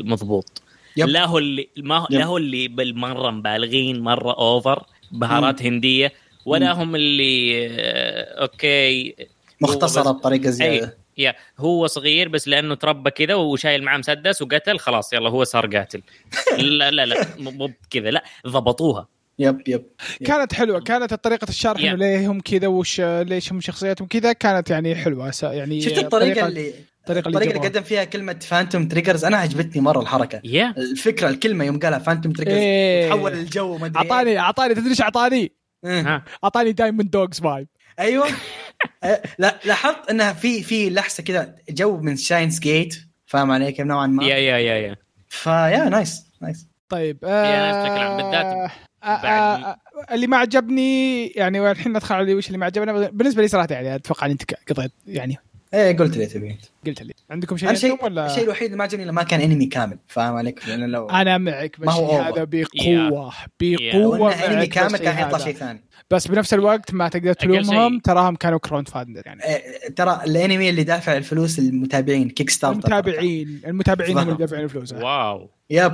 C: مضبوط
B: يب.
C: لا هو اللي ما هو-
B: يب.
C: لا هو اللي بالمره مبالغين مره اوفر بهارات هنديه ولا هم اللي آه، اوكي
B: مختصره
C: هو
B: بطريقه
C: اي
B: زياده
C: يا هو صغير بس لانه تربى كذا وشايل معاه مسدس وقتل خلاص يلا هو صار قاتل لا لا لا مو- مو كذا لا ضبطوها
B: يب يب
A: كانت حلوه كانت طريقه الشرح
C: يا.
A: انه ليه هم كذا وش ليش هم شخصياتهم كذا كانت يعني حلوه س- يعني
B: شفت الطريقه اللي
A: الطريقه اللي,
B: الطريقه اللي
A: جابوها.
B: قدم فيها كلمه فانتوم تريجرز انا عجبتني مره الحركه
C: يا
B: الفكره الكلمه يوم قالها فانتوم تريجرز
A: إيه.
B: تحول الجو ما ادري
A: اعطاني اعطاني تدري ايش اعطاني؟
B: إيه.
C: ها
A: اعطاني دايموند دوجز فايب
B: ايوه أه، لا لاحظت انها في في لحظه كذا جو من شاينز جيت فاهم علي كيف نوعا ما
C: يا يا يا يا
B: فيا نايس نايس
A: طيب
C: يا، بشكل عام، بالذات
A: آه، آه، آه، اللي ما عجبني يعني والحين ندخل على وش اللي ما عجبنا بالنسبه لي صراحه يعني اتوقع إن انت قضيت يعني
B: ايه قلت لي تبي
A: قلت لي عندكم شيء
B: انا
A: اليوم
B: شيء
A: ولا
B: الشيء الوحيد اللي ما عجبني لما كان انمي كامل فاهم عليك لانه لو
A: انا معك
B: ما هو
A: بالشيء
B: over.
A: هذا بقوه بقوه
B: لو انه انمي
A: معك
B: كامل
A: بالشيء
B: كان حيطلع
A: هذا.
B: شيء ثاني
A: بس بنفس الوقت ما تقدر تلومهم
C: شيء.
A: تراهم كانوا كراوند فاندر يعني
B: إيه، ترى الانمي اللي دافع الفلوس المتابعين كيك ستارتر
A: المتابعين المتابعين هم
B: تفضل.
A: اللي دافعين فلوس
C: واو
A: ف...
B: يب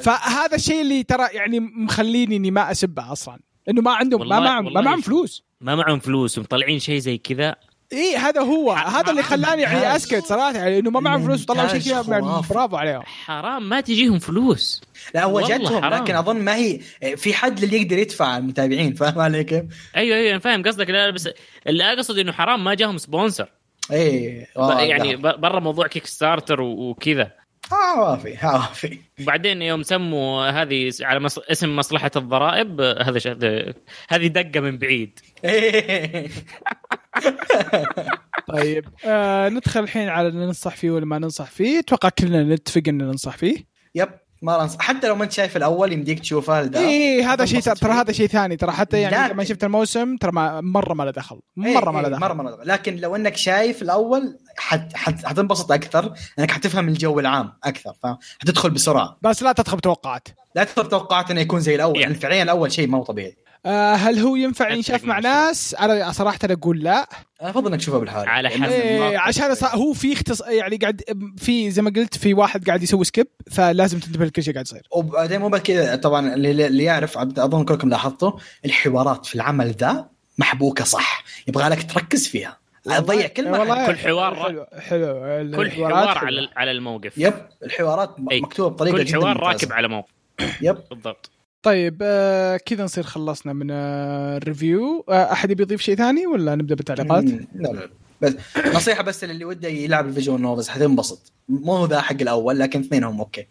A: فهذا الشيء اللي ترى يعني مخليني اني ما اسبه اصلا انه ما عندهم ما
C: والله-
A: معهم ما
C: والله
A: معهم
C: شوف.
A: فلوس
C: ما معهم فلوس ومطلعين شيء زي كذا
A: اي إيه، هذا هو هذا اللي خلاني يعني
B: ممتاز.
A: اسكت صراحه يعني انه ما معهم فلوس وطلعوا شيء
B: ممتاز،
A: كذا يعني
B: خرافي.
A: برافو عليهم
C: حرام ما تجيهم فلوس
B: لا هو
C: والله
B: جاتهم
C: حرام.
B: لكن اظن ما هي في حد اللي يقدر يدفع على المتابعين فاهم علي كيف؟
C: ايوه ايوه انا فاهم قصدك لا لا، بس اللي اقصد انه حرام ما جاهم سبونسر
B: اي والله
C: يعني ب- برا موضوع كيك ستارتر و- وكذا
B: ها آه، وافي ها وافي
C: وبعدين يوم سموا هذه على مص... اسم مصلحه الضرائب آه، هذا ش... هذا- هذه دقه من بعيد
A: طيب آه ندخل الحين على اللي ننصح فيه ولا ما ننصح فيه اتوقع كلنا نتفق ان ننصح فيه
B: يب ما انصح حتى لو ما انت شايف الاول يمديك تشوفه لده.
A: اي إيه، هذا شيء
B: تنبسط
A: ترى
B: فيه.
A: هذا شيء ثاني ترى حتى يعني اذا ما
B: لكن-
A: شفت الموسم ترى ما- مره ما له دخل
B: إيه،
A: مره ما
B: إيه،
A: له
B: مره
A: دخل
B: ما له دخل لكن لو انك شايف الاول حت... حت... حتنبسط اكثر انك حتفهم الجو العام اكثر فاهم حتدخل بسرعه
A: بس لا تدخل بتوقعات
B: لا تفطر توقعات انه يكون زي الاول
C: يعني.
B: يعني فعليا الاول شيء ما هو طبيعي
A: آه هل هو ينفع
C: أتفق
A: ينشاف مع
C: مع
A: ناس؟ انا صراحه أنا اقول لا
B: انا افضل انك تشوفه بالحال
C: على
B: لأنه
C: حسب
A: إيه
B: المواقف.
A: عشان أص... هو في اختص... يعني قاعد في زي ما قلت في واحد قاعد يسوي سكيب فلازم تنتبه لكل شيء قاعد يصير
B: وبعدين مو بس كذا طبعا اللي, اللي يعرف عبد اظن كلكم لاحظتوا الحوارات في العمل ذا محبوكه صح يبغى لك تركز فيها تضيع كلمه
A: إيه، والله
C: كل حوار-
A: حلو حلو
C: كل
A: الحوارات حلوة.
C: حوار على على الموقف
B: يب الحوارات
C: أي.
B: مكتوبه بطريقه
C: كل
B: جدا
C: حوار
B: ممتازة.
C: راكب على موقف
B: يب
C: بالضبط
A: طيب آه كذا نصير خلصنا من آه، الريفيو آه احد يبي يضيف شيء ثاني ولا نبدا بالتعليقات؟
B: مم، لا لا لا. بس نصيحه بس للي وده يلعب الفيجوال نوفلز حتنبسط مو هو ذا حق الاول لكن اثنينهم اوكي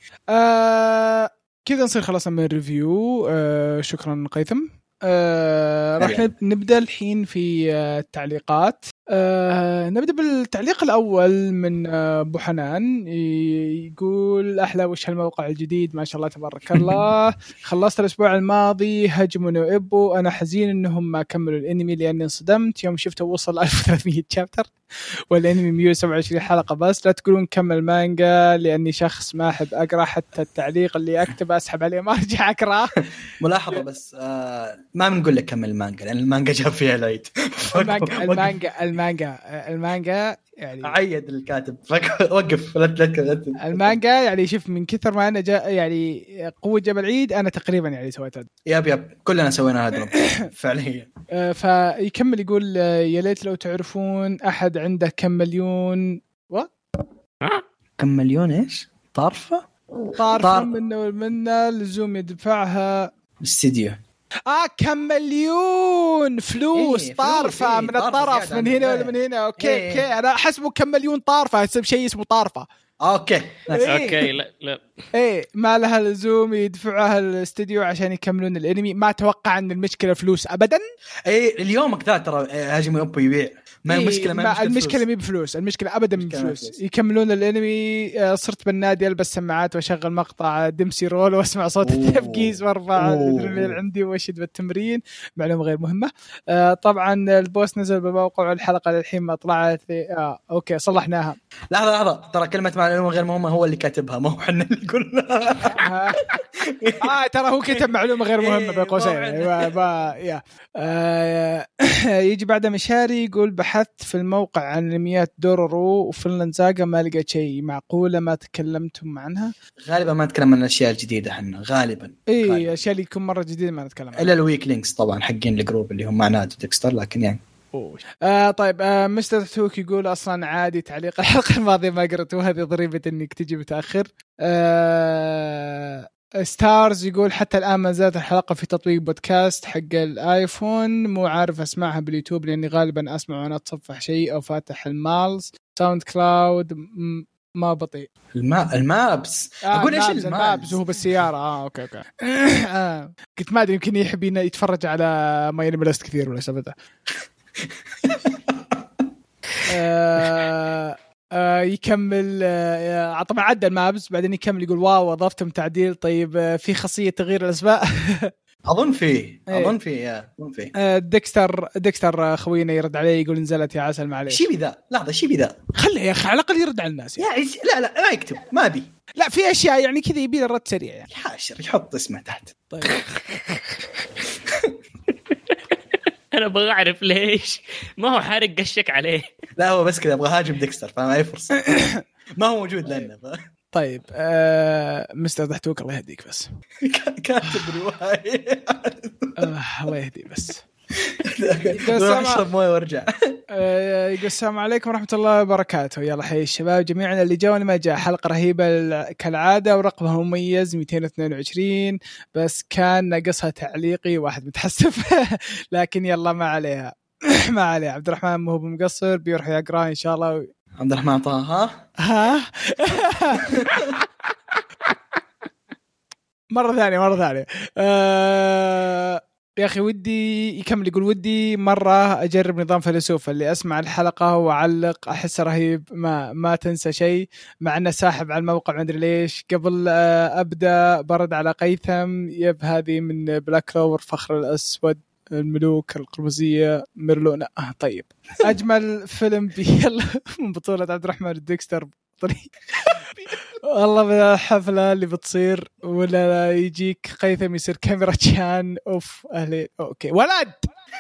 A: آه كذا نصير خلصنا من الريفيو آه شكرا قيثم آه راح
B: هلا.
A: نب- نبدا الحين في آه، التعليقات آه نبدا بالتعليق الاول من آه، ابو حنان ي- يقول احلى وش هالموقع الجديد ما شاء الله تبارك الله خلصت الاسبوع الماضي هجمون وابو انا حزين انهم ما كملوا الانمي لاني انصدمت يوم شفته وصل 1300 شابتر والانمي 127 حلقه بس لا تقولون كمل مانجا لاني شخص ما احب اقرا حتى التعليق اللي اكتبه اسحب عليه ما ارجع اقراه
B: ملاحظه بس آه ما بنقول لك كمل المانجا لان المانجا جاب فيها العيد
A: المانجا المانجا المانجا المانجا يعني
B: عيد الكاتب وقف لا ت- لا ت- لا ت-
A: المانجا يعني شوف من كثر ما انا جا يعني قوه جبل العيد انا تقريبا يعني سويتها
B: ياب ياب كلنا سوينا هذا فعليا
A: آه، فيكمل يقول آه، يا ليت لو تعرفون احد عنده كم مليون
B: كم مليون ايش؟ طرفه؟
A: طارفه
B: طار-
A: منه منا لزوم يدفعها
B: استديو
A: اه كم مليون فلوس
B: إيه، فلوس،
A: طارفه
B: إيه،
A: من
B: طارفة
A: الطرف
B: زيادة
A: من
B: عن
A: هنا ولا
B: الكفاية.
A: من هنا اوكي
B: إيه.
A: اوكي انا احسبه كم مليون طارفه اسم شيء اسمه طارفه
B: اوكي
A: إيه.
C: اوكي لا لا
A: ايه ما لها لزوم يدفعها الاستديو عشان يكملون الانمي ما اتوقع ان المشكله فلوس ابدا
B: اي اليوم ذا ترى آه، هاجم اوبو يبيع ما
A: إيه،
B: المشكله ما هي
A: ما
B: مشكلة
A: المشكله
B: فلوس.
A: مي بفلوس المشكله ابدا مي
B: المشكلة ما هي
A: بفلوس
B: فلوس.
A: يكملون الانمي آه، صرت بالنادي البس سماعات واشغل مقطع دمسي رول واسمع صوت
B: أوه.
A: التبقيز وارفع
B: أوه.
A: الادرينالين عندي واشد بالتمرين معلومه غير مهمه آه، طبعا البوست نزل بموقع الحلقه للحين ما طلعت آه، اوكي صلحناها
B: لحظه لحظه ترى كلمه معلومه غير مهمه هو اللي كاتبها مو احنا اللي قلنا
A: آه، اه ترى هو كتب معلومه غير مهمه
B: إيه،
A: بين قوسين
B: طبعاً.
A: ما- ما- يا. آه، يجي بعدها مشاري يقول بحثت في الموقع عن انميات دورورو وفنلاند ساغا ما لقيت شيء معقوله ما تكلمتم عنها
B: غالبا ما نتكلم عن الاشياء الجديده احنا غالبا
A: اي
B: غالباً.
A: اشياء اللي يكون مره جديده ما نتكلم عنها
B: الا الويك لينكس طبعا حقين الجروب اللي هم مع نادي ديكستر لكن يعني
A: أوه. آه طيب آه مستر توك يقول اصلا عادي تعليق الحلقه الماضيه ما قرأت وهذه ضريبه انك تجي متاخر آه ستارز يقول حتى الان ما زالت الحلقه في تطبيق بودكاست حق الايفون مو عارف اسمعها باليوتيوب لاني غالبا اسمع وانا اتصفح شيء او فاتح المالز ساوند كلاود م- ما بطيء
B: الما المابس اقول ايش
A: المابس- المابس
B: المابس
A: آه، وهو بالسياره اه اوكي اوكي آه. قلت ما ادري يمكن يحب ين- يتفرج على ما ينبلست كثير ولا سبته آه آه يكمل آه آه، طبعا عدى المابس بعدين يكمل يقول واو اضفتم تعديل طيب آه في خاصيه تغيير الاسماء
B: اظن فيه
A: إيه.
B: اظن فيه يا اظن فيه
A: آه، ديكستر ديكستر آه، خوينا يرد عليه يقول نزلت يا عسل معليش
B: شي بذا لحظه شي بذا
A: خله يا اخي على الاقل يرد على الناس يعني.
B: يا إيش- لا لا ما يكتب ما ابي
A: لا في اشياء يعني كذا يبي رد سريع يعني
B: الحاشر يحط اسمه تحت
A: طيب
C: انا ابغى اعرف ليش ما هو حارق قشك عليه
B: لا هو بس كذا ابغى هاجم ديكستر فما اي فرصه ما هو موجود لانه ف-
A: طيب آه مستر دحتوك الله يهديك بس
B: كا- كاتب روايه
A: آه الله يهدي بس
B: روح اشرب مويه وارجع
A: آه، يقول السلام عليكم ورحمة الله وبركاته يلا حي الشباب جميعا اللي جاء واللي ما جاء حلقة رهيبة ال- كالعادة ورقمها مميز 222 بس كان ناقصها تعليقي واحد متحسف لكن يلا ما عليها ما عليه عبد الرحمن مو هو مقصر بيروح يقرا ان شاء الله وي-
B: عبد الرحمن طه
A: ها مرة ثانية مرة ثانية آه، يا اخي ودي يكمل يقول ودي مره اجرب نظام فيلسوف اللي اسمع الحلقه واعلق احسه رهيب ما ما تنسى شيء مع انه ساحب على الموقع ما ادري ليش قبل آه، ابدا برد على قيثم يب هذه من بلاك كلوفر فخر الاسود الملوك القرمزيه ميرلونا آه طيب اجمل فيلم بيلا من بطوله عبد الرحمن الدكستر بطريق والله من الحفله اللي بتصير ولا يجيك قيثم يصير كاميرا تشان اوف اهلي اوكي ولد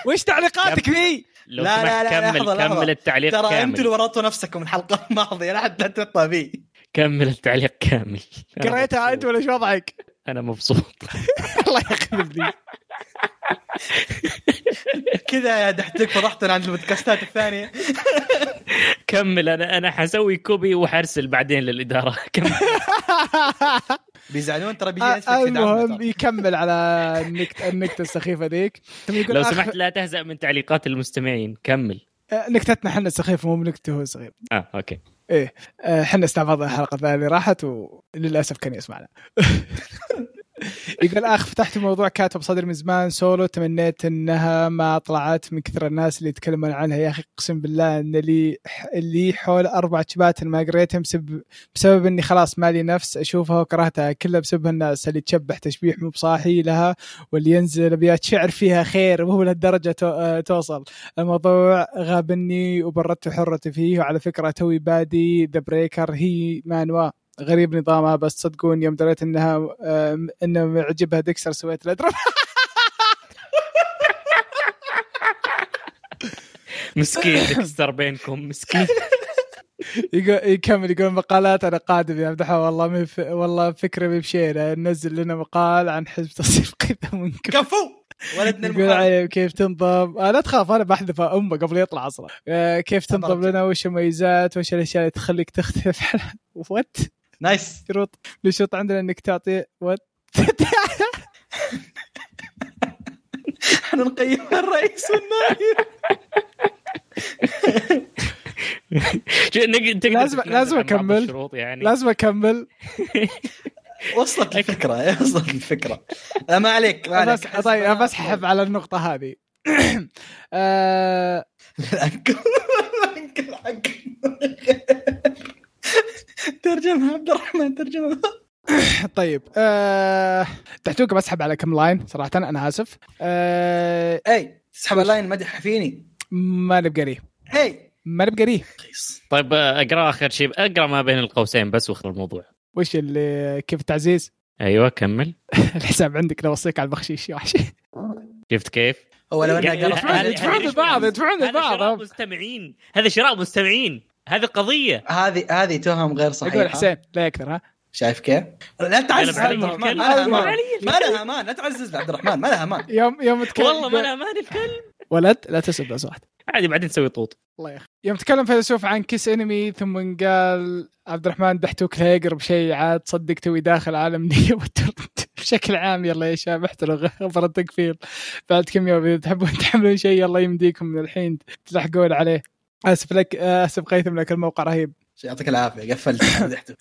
A: وش تعليقاتك ذي؟
C: لو
B: لا،
C: سمحت
B: لا، لا،
C: كمل
B: لحظة، لحظة.
C: كمل التعليق
B: ترى
C: كامل
B: انتوا اللي ورطتوا نفسكم الحلقه الماضيه لا حد لا تطلع بي
C: كمل التعليق كامل أنا
A: قريتها انت
C: مبسوط.
A: ولا ايش وضعك؟
C: انا مبسوط
A: الله يخربني
B: كذا يا دحتك فضحتنا عند البودكاستات الثانيه
C: كمل انا انا حسوي كوبي وحرسل بعدين للاداره كمل
B: بيزعلون ترى بيجي نتفلكس يدعمنا
A: آه، المهم
B: ترى.
A: يكمل على النكت النكته السخيفه ذيك ثم يقول
C: لو
A: آخر-
C: سمحت لا تهزأ من تعليقات المستمعين كمل
A: آه، نكتتنا حنا السخيفه مو نكته هو السخيف
C: اه اوكي
A: ايه آه، حنا استعبطنا الحلقه الثانيه اللي راحت وللاسف كان يسمعنا يقول اخ فتحت موضوع كاتب صدر من زمان سولو تمنيت انها ما طلعت من كثر الناس اللي يتكلمون عنها يا اخي اقسم بالله ان لي اللي حول اربع شبات أنا ما قريتهم بسبب, بسبب اني خلاص مالي نفس اشوفها وكرهتها كلها بسبب الناس اللي تشبح تشبيح مو بصاحي لها واللي ينزل ابيات شعر فيها خير وهو لهالدرجه تو- آه، توصل الموضوع غابني وبردت حرتي فيه وعلى فكره توي بادي ذا بريكر هي مانوا غريب نظامها بس صدقون يوم دريت انها آه، انه معجبها ديكسر سويت له drop.
C: مسكين ديكستر بينكم مسكين
A: يقول- يكمل يقول مقالات انا قادم يا مدحه والله مي ف... والله فكره مي بشينه نزل لنا مقال عن حزب تصير قيثم منكم
B: كفو ولدنا
A: يقول
B: المقال
A: عليه كيف تنضم آه لا تخاف انا بحذفها امه قبل يطلع اصلا آه كيف تنضم
B: أمرك.
A: لنا وش المميزات وش الاشياء اللي تخليك تختلف وات
B: نايس
A: شروط الشروط عندنا انك تعطي وات
B: احنا نقيم الرئيس والنائب
C: شو- نق- تقدر
A: لازم-
C: تتنازل
A: لازم
C: عن بعض
A: أكمل.
C: الشروط يعني
A: لازم اكمل
B: وصلت الفكره وصلت الفكره لا، ما عليك ما
A: بس
B: عليك
A: طيب بسحب على النقطه هذه آه،
B: الأنكل. حق ترجمها عبد الرحمن ترجمها
A: طيب أه... تحتوكم اسحب على كم لاين صراحه انا اسف أه...
B: اي إيه، تسحب اللاين مدح فيني
A: ما نبقريه
B: اي
A: ما نبقريه
B: رخيص
C: طيب آه، اقرا اخر شيء اقرا ما بين القوسين بس واخر الموضوع
A: وش اللي كيف التعزيز
C: ايوه كمل
A: الحساب عندك لو وصيك على البخشيش يا وحشي
C: شفت كيف؟
B: هو لو انها
C: يعني
B: قرأت
C: هذا- هذا-
A: يدفعون لبعض يدفعون
C: هذا شراء
A: لبعض
C: مستمعين هذا شراء مستمعين هذه قضيه
B: هذه هذه تهم غير صحيحه
A: يقول حسين لا يكثر ها
B: شايف كيف؟ لا تعزز
C: أنا
B: عبد
C: بحب
B: الرحمن
C: الكلمة.
B: ما لها امان
C: علي.
B: ما لها امان لا تعزز عبد الرحمن ما لها امان
A: يوم يوم تكلم
C: والله ما انا ماني الكلب
A: ولد لا تسب لو سمحت
C: عادي بعدين نسوي طوط
A: الله يخ يوم تكلم فيلسوف عن كيس انمي ثم قال عبد الرحمن دحتوك لا يقرب شيء عاد صدق توي داخل عالم نية وترد بشكل عام يلا يا شباب احتروا غفر التكفير بعد كم يوم اذا تحبون تحملون شيء يلا يمديكم من الحين تلحقون عليه اسف لك اسف قيثم لك الموقع رهيب
B: يعطيك العافيه قفلت مدحته.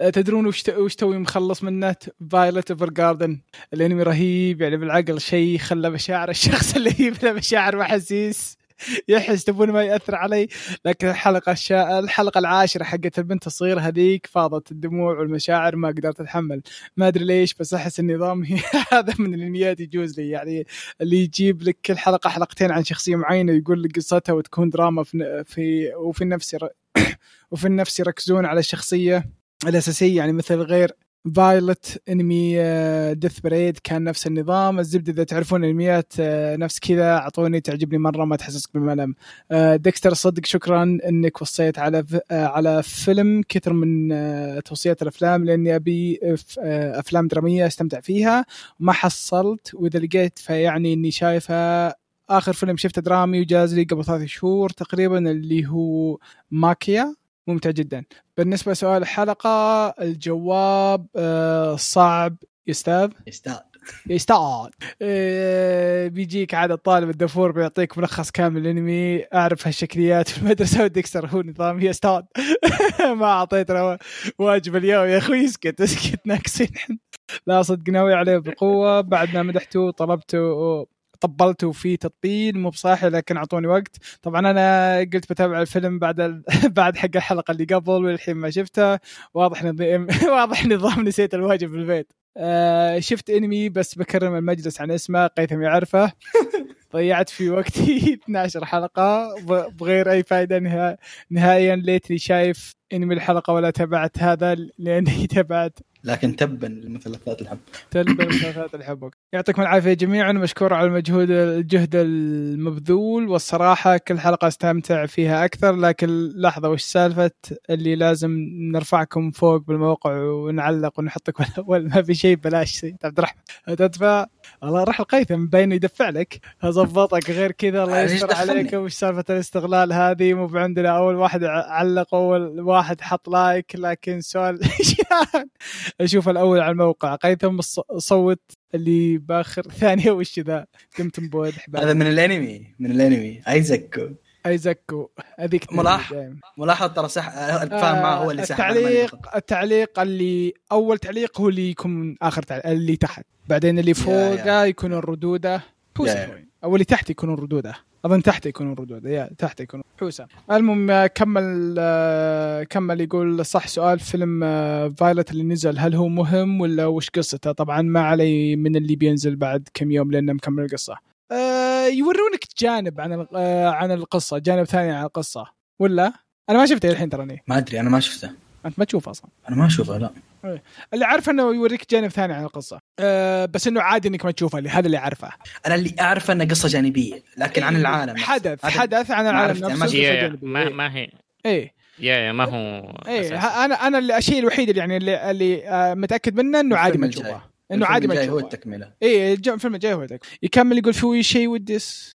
A: أه، تدرون وش وش توي مخلص منه فايلت ايفر جاردن الانمي رهيب يعني بالعقل شيء خلى مشاعر الشخص اللي هي بلا مشاعر واحاسيس يحس تبون ما ياثر علي لكن الحلقه الشا... الحلقه العاشره حقت البنت الصغيره هذيك فاضت الدموع والمشاعر ما قدرت اتحمل ما ادري ليش بس احس النظام هي هذا من الانميات يجوز لي يعني اللي يجيب لك كل حلقه حلقتين عن شخصيه معينه يقول لك قصتها وتكون دراما في, في... وفي النفس ير- وفي النفس يركزون على الشخصيه الاساسيه يعني مثل غير فايلت انمي ديث بريد كان نفس النظام الزبده اذا تعرفون انميات آه، نفس كذا اعطوني تعجبني مره ما تحسسك بالملل آه، ديكستر صدق شكرا انك وصيت على ف- آه، على فيلم كثر من آه، توصيات الافلام لاني ابي ف- آه، افلام دراميه استمتع فيها ما حصلت واذا لقيت فيعني اني شايفها اخر فيلم شفته درامي وجاز لي قبل ثلاث شهور تقريبا اللي هو ماكيا ممتع جدا بالنسبه لسؤال الحلقه الجواب آه، صعب يستاهل
B: يستاهل
A: يستعاد إيه، بيجيك عاد الطالب الدفور بيعطيك ملخص كامل الانمي اعرف هالشكليات في المدرسه وديكستر هو نظام يستعاد ما اعطيتنا واجب اليوم يا اخوي اسكت اسكت ناقصين إحنا. لا صدق ناوي عليه بقوه بعد ما مدحته طلبته طبلته في تطبيل مو بصاحي لكن اعطوني وقت طبعا انا قلت بتابع الفيلم بعد ال... بعد حق الحلقه اللي قبل والحين ما شفته واضح نظام واضح نظام نسيت الواجب في البيت آه، شفت انمي بس بكرم المجلس عن اسمه قيثم يعرفه ضيعت في وقتي 12 حلقه ب- بغير اي فائده نها- نهائيا ليتني شايف انمي الحلقه ولا تابعت هذا لاني تابعت
B: لكن تبا للمثلثات الحب
A: تلبى المسافات الحبك يعطيكم العافيه جميعا مشكور على المجهود الجهد المبذول والصراحه كل حلقه استمتع فيها اكثر لكن لحظه وش سالفه اللي لازم نرفعكم فوق بالموقع ونعلق ونحطك ولا, ولا ما في شيء بلاش عبد الرحمن تدفع الله راح القيثم باين يدفع لك هظبطك غير كذا الله
B: ليش
A: يستر
B: يعني دخلني؟
A: عليك وش سالفه الاستغلال هذه مو بعندنا اول واحد علق اول واحد حط لايك لكن سؤال اشوف الاول على الموقع قيثم الص- صوت اللي باخر ثانيه وش ذا قمت مبود
B: هذا من الانمي من الانمي ايزك
A: ايزك هذيك
B: ملاح.
A: دايم.
B: ملاحظ ترى صح الفاهم معه هو اللي سحب على المنطق.
A: آه، التعليق التعليق اللي اول تعليق هو اللي يكون اخر تعليق اللي تحت بعدين اللي فوقه يكون الردوده
B: يا-
A: حوسه
B: يا.
A: شوي. او اللي تحت يكون الردوده اظن تحت يكون الردوده يا تحت يكون حوسه المهم آه، كمل آه، كمل يقول صح سؤال فيلم آه، فايلت اللي نزل هل هو مهم ولا وش قصته طبعا ما علي من اللي بينزل بعد كم يوم لانه مكمل القصه آه، يورونك جانب عن ال- آه، عن القصه جانب ثاني عن القصه ولا انا ما شفته الحين تراني
B: ما ادري انا ما شفته
A: انت ما تشوف اصلا
B: انا ما اشوفه لا
A: اللي عارفه انه يوريك جانب ثاني عن القصه أه بس انه عادي انك ما تشوفه اللي هذا اللي عارفه إيه،
B: انا اللي اعرفه انه قصه جانبيه لكن عن العالم نفسه.
A: حدث
B: هذا-
A: حدث عن العالم
B: معرفتي، ما
A: نفسه
B: شفت.
C: يا
A: قصة
C: يا
A: جانبية.
C: إيه، ما, ما هي
A: ايه
C: يا يا ما هو
A: ايه
C: أساسي.
A: ه- انا انا اللي- الشيء الوحيد اللي يعني اللي, اللي آه، متاكد منه انه عادي
B: الفيلم
A: ما
B: الجاي.
A: تشوفه انه
B: الفيلم
A: عادي ما
B: الجاي هو
A: تشوفه
B: التكمله
A: ايه الج- الفيلم الجاي هو ذاك يكمل يقول في شيء ودي أس-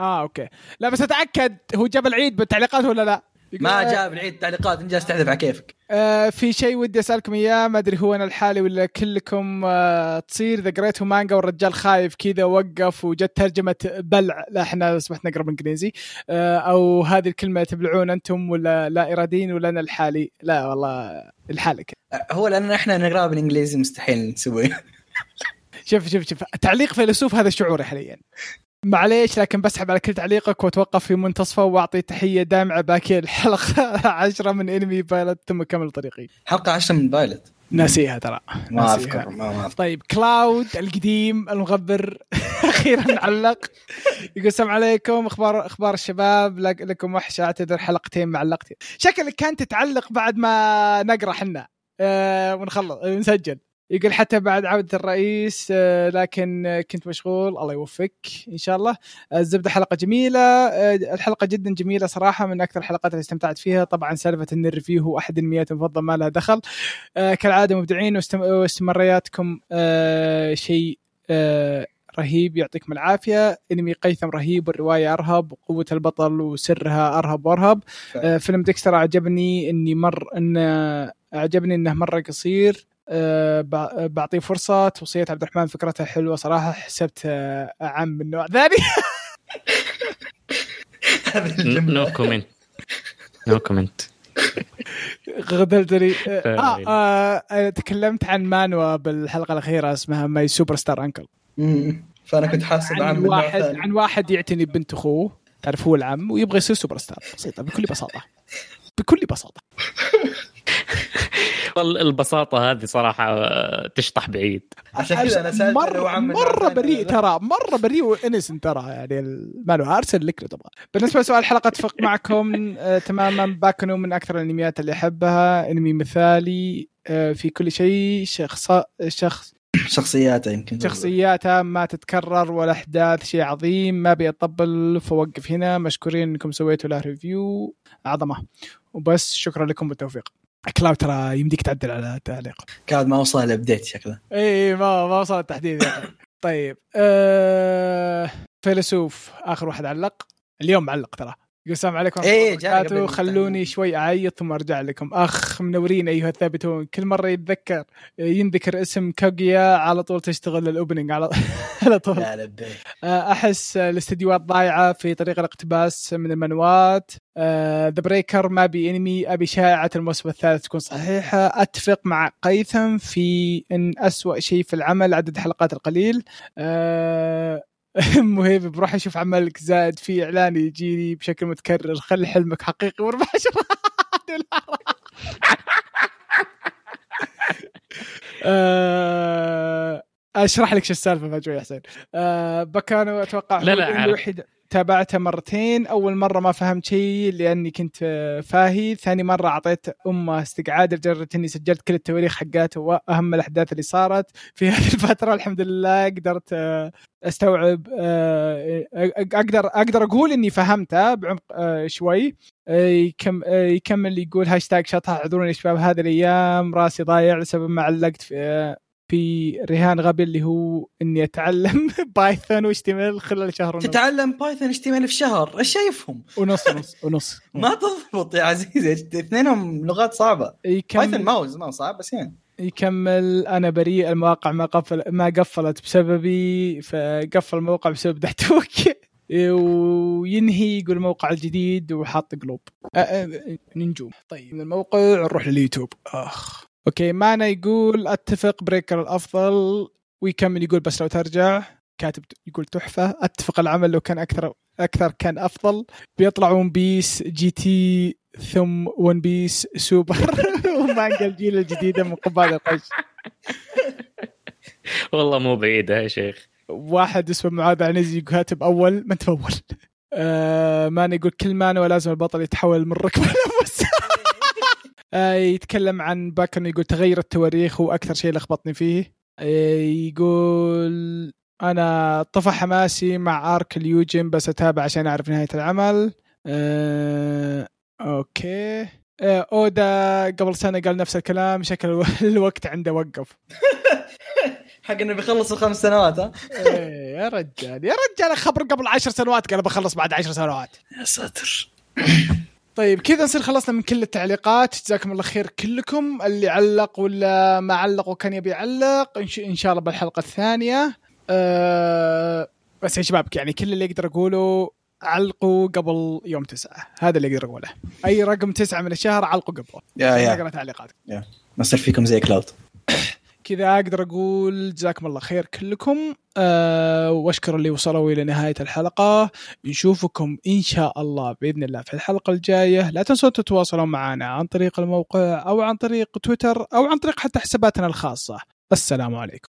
A: اه اوكي لا بس اتاكد هو جاب العيد بالتعليقات ولا لا يقول،
B: ما
A: آه،
B: جاب العيد تعليقات ان جالس تحذف على كيفك
A: آه، في شيء ودي اسالكم اياه ما ادري هو انا الحالي ولا كلكم آه، تصير اذا قريتوا مانجا والرجال خايف كذا وقف وجت ترجمه بلع لا احنا اصبحت نقرا بالانجليزي آه، او هذه الكلمه تبلعون انتم ولا لا اراديين ولا انا الحالي لا والله لحالك
B: أه، هو لان احنا نقراه بالانجليزي مستحيل نسويه
A: شوف شوف شوف تعليق فيلسوف هذا شعوري حاليا معليش لكن بسحب على كل تعليقك واتوقف في منتصفه واعطي تحيه دامعه باكيه الحلقه 10 من انمي بايلوت ثم اكمل طريقي
B: حلقه 10 من بايلت
A: ناسيها ترى
B: ما
A: ناسيها.
B: اذكر ما ما اذكر
A: طيب كلاود القديم المغبر اخيرا علق يقول السلام عليكم اخبار اخبار الشباب لك- لكم وحشه اعتذر حلقتين ما علقت شكلك كانت تعلق بعد ما نقرا حنا آه ونخلص آه، نسجل يقول حتى بعد عودة الرئيس آه، لكن آه، كنت مشغول الله يوفقك إن شاء الله آه، الزبدة حلقة جميلة آه، الحلقة جدا جميلة صراحة من أكثر الحلقات اللي استمتعت فيها طبعا سالفة أن الريفيو هو أحد النيات المفضلة ما لها دخل آه، كالعاده مبدعين واستم- واستمرارياتكم آه، شيء آه، رهيب يعطيكم العافيه انمي قيثم رهيب والروايه ارهب وقوه البطل وسرها ارهب وارهب آه، فيلم ديكستر عجبني اني مر ان عجبني انه مره قصير آه، ب- بعطيه فرصه توصيه عبد الرحمن فكرتها حلوه صراحه حسبت آه، عام من نوع ثاني
B: هذه
C: نو كومنت نو كومنت
A: غدلتني آه، آه، آه، آه، تكلمت عن مانوا بالحلقه الاخيره اسمها ماي سوبر ستار انكل
B: مم. فانا كنت حاسب عام
A: عن
B: من نوع
A: يعني واحد
B: ثاني
A: عن واحد يعتني ببنت اخوه تعرف هو العم ويبغى يصير سوبر ستار بسيطه بكل بساطه بكل بساطه
C: وال- البساطه هذه صراحه آه، تشطح بعيد
B: عشان كذا انا سالت هل هو
A: مره
B: عام من يعني. نوع
A: مره
B: ثاني ولا
A: بريء
B: لا.
A: ترى مره بريء وانسنت ترى يعني ال- ما له ارسل لك لو تبغى بالنسبه لسؤال حلقه اتفق معكم آه تماما باكنو من اكثر الانميات اللي احبها انمي مثالي آه في كل شيء شخص شخص
B: شخصياته يمكن
A: شخصياته ما تتكرر والاحداث شيء عظيم ما ابي اطبل فوقف هنا مشكورين انكم سويتوا له ريفيو عظمه وبس شكرا لكم بالتوفيق كلاو ترى يمديك تعدل على تعليق
B: كاد ما وصل الابديت شكله
A: اي إيه، ما ما وصل التحديد يعني. طيب آه فيلسوف اخر واحد علق اليوم معلق ترى يقول السلام عليكم ورحمة
B: إيه،
A: الله
B: جاي قبل
A: وبركاته.
B: المقطع.
A: خلوني شوي اعيط ثم ارجع لكم اخ منورين ايها الثابتون كل مره يتذكر ينذكر اسم كوغيا على طول تشتغل الاوبننج على على طول
B: لا لبيك
A: احس آه، الاستديوهات ضايعه في طريقه الاقتباس من المانوات ذا بريكر ما بي انمي ابي شائعه الموسم الثالث تكون صحيحه اتفق مع قيثم في ان أسوأ شيء في العمل عدد حلقات القليل أه، مهيب بروح اشوف عملك زائد في اعلان يجيني بشكل متكرر خلي حلمك حقيقي واربع دولار أه، اشرح لك شو السالفه فجوه يا حسين أه، بكانو اتوقع
C: لا،
A: هو
C: لا،
A: الأنمي
C: عارف.
A: الوحيد تابعته مرتين اول مره ما فهمت شيء لاني كنت آه، فاهي ثاني مره اعطيت امه استقعاد لدرجه اني سجلت كل التواريخ حقاته واهم الاحداث اللي صارت في هذه الفتره الحمد لله قدرت آه، استوعب آه، أ- اقدر اقدر اقول اني فهمته بعمق آه، شوي آه، يكم- آه، يكمل يقول هاشتاج شطح اعذروني يا شباب هذه الايام راسي ضايع لسبب ما علقت في آه، في رهان غبي اللي هو اني اتعلم بايثون واشتمل خلال شهر ونص
B: تتعلم بايثون اتش في شهر ايش شايفهم
A: ونص ونص ونص
B: ما تضبط يا عزيزي اثنينهم لغات صعبه بايثون
A: يكمل
B: ما هو ما هو صعب بس يعني
A: يكمل انا بريء المواقع ما قفل ما قفلت بسببي فقفل الموقع بسبب دحتوك وينهي يقول الموقع الجديد وحاط قلوب أ- أ- نجوم طيب من الموقع نروح لليوتيوب اخ اوكي مانا يقول اتفق بريكر الافضل ويكمل يقول بس لو ترجع كاتب يقول تحفه اتفق العمل لو كان اكثر اكثر كان افضل بيطلع ون بيس جي تي ثم ون بيس سوبر ومانجا الجيل الجديده من قبال القش
C: والله مو بعيده يا شيخ
A: واحد اسمه معاذ عنزي كاتب اول من تفول آه ماني يقول كل مانو لازم البطل يتحول من ركب لبوس آه يتكلم عن باكن يقول تغير التواريخ هو اكثر شيء لخبطني فيه آه يقول انا طفى حماسي مع ارك اليوجن بس اتابع عشان اعرف نهايه العمل آه اوكي آه اودا قبل سنه قال نفس الكلام شكل الو- الوقت عنده وقف
B: حق انه بيخلص الخمس سنوات ها
A: إيه يا رجال يا رجال خبر قبل عشر سنوات قال بخلص بعد عشر سنوات
B: يا ساتر
A: طيب كذا نصير خلصنا من كل التعليقات جزاكم الله خير كلكم اللي علق ولا ما علق وكان يبي يعلق إن, ش... ان شاء الله بالحلقه الثانيه أه... بس يا شباب يعني كل اللي اقدر اقوله علقوا قبل يوم تسعة هذا اللي اقدر اقوله اي رقم تسعة من الشهر علقوا قبله
B: يا
A: عشان
B: يا
A: اقرا تعليقاتكم
B: يا نصير فيكم زي كلاود
A: كذا اقدر اقول جزاكم الله خير كلكم أه واشكر اللي وصلوا الى نهايه الحلقه نشوفكم ان شاء الله باذن الله في الحلقه الجايه لا تنسوا تتواصلوا معنا عن طريق الموقع او عن طريق تويتر او عن طريق حتى حساباتنا الخاصه السلام عليكم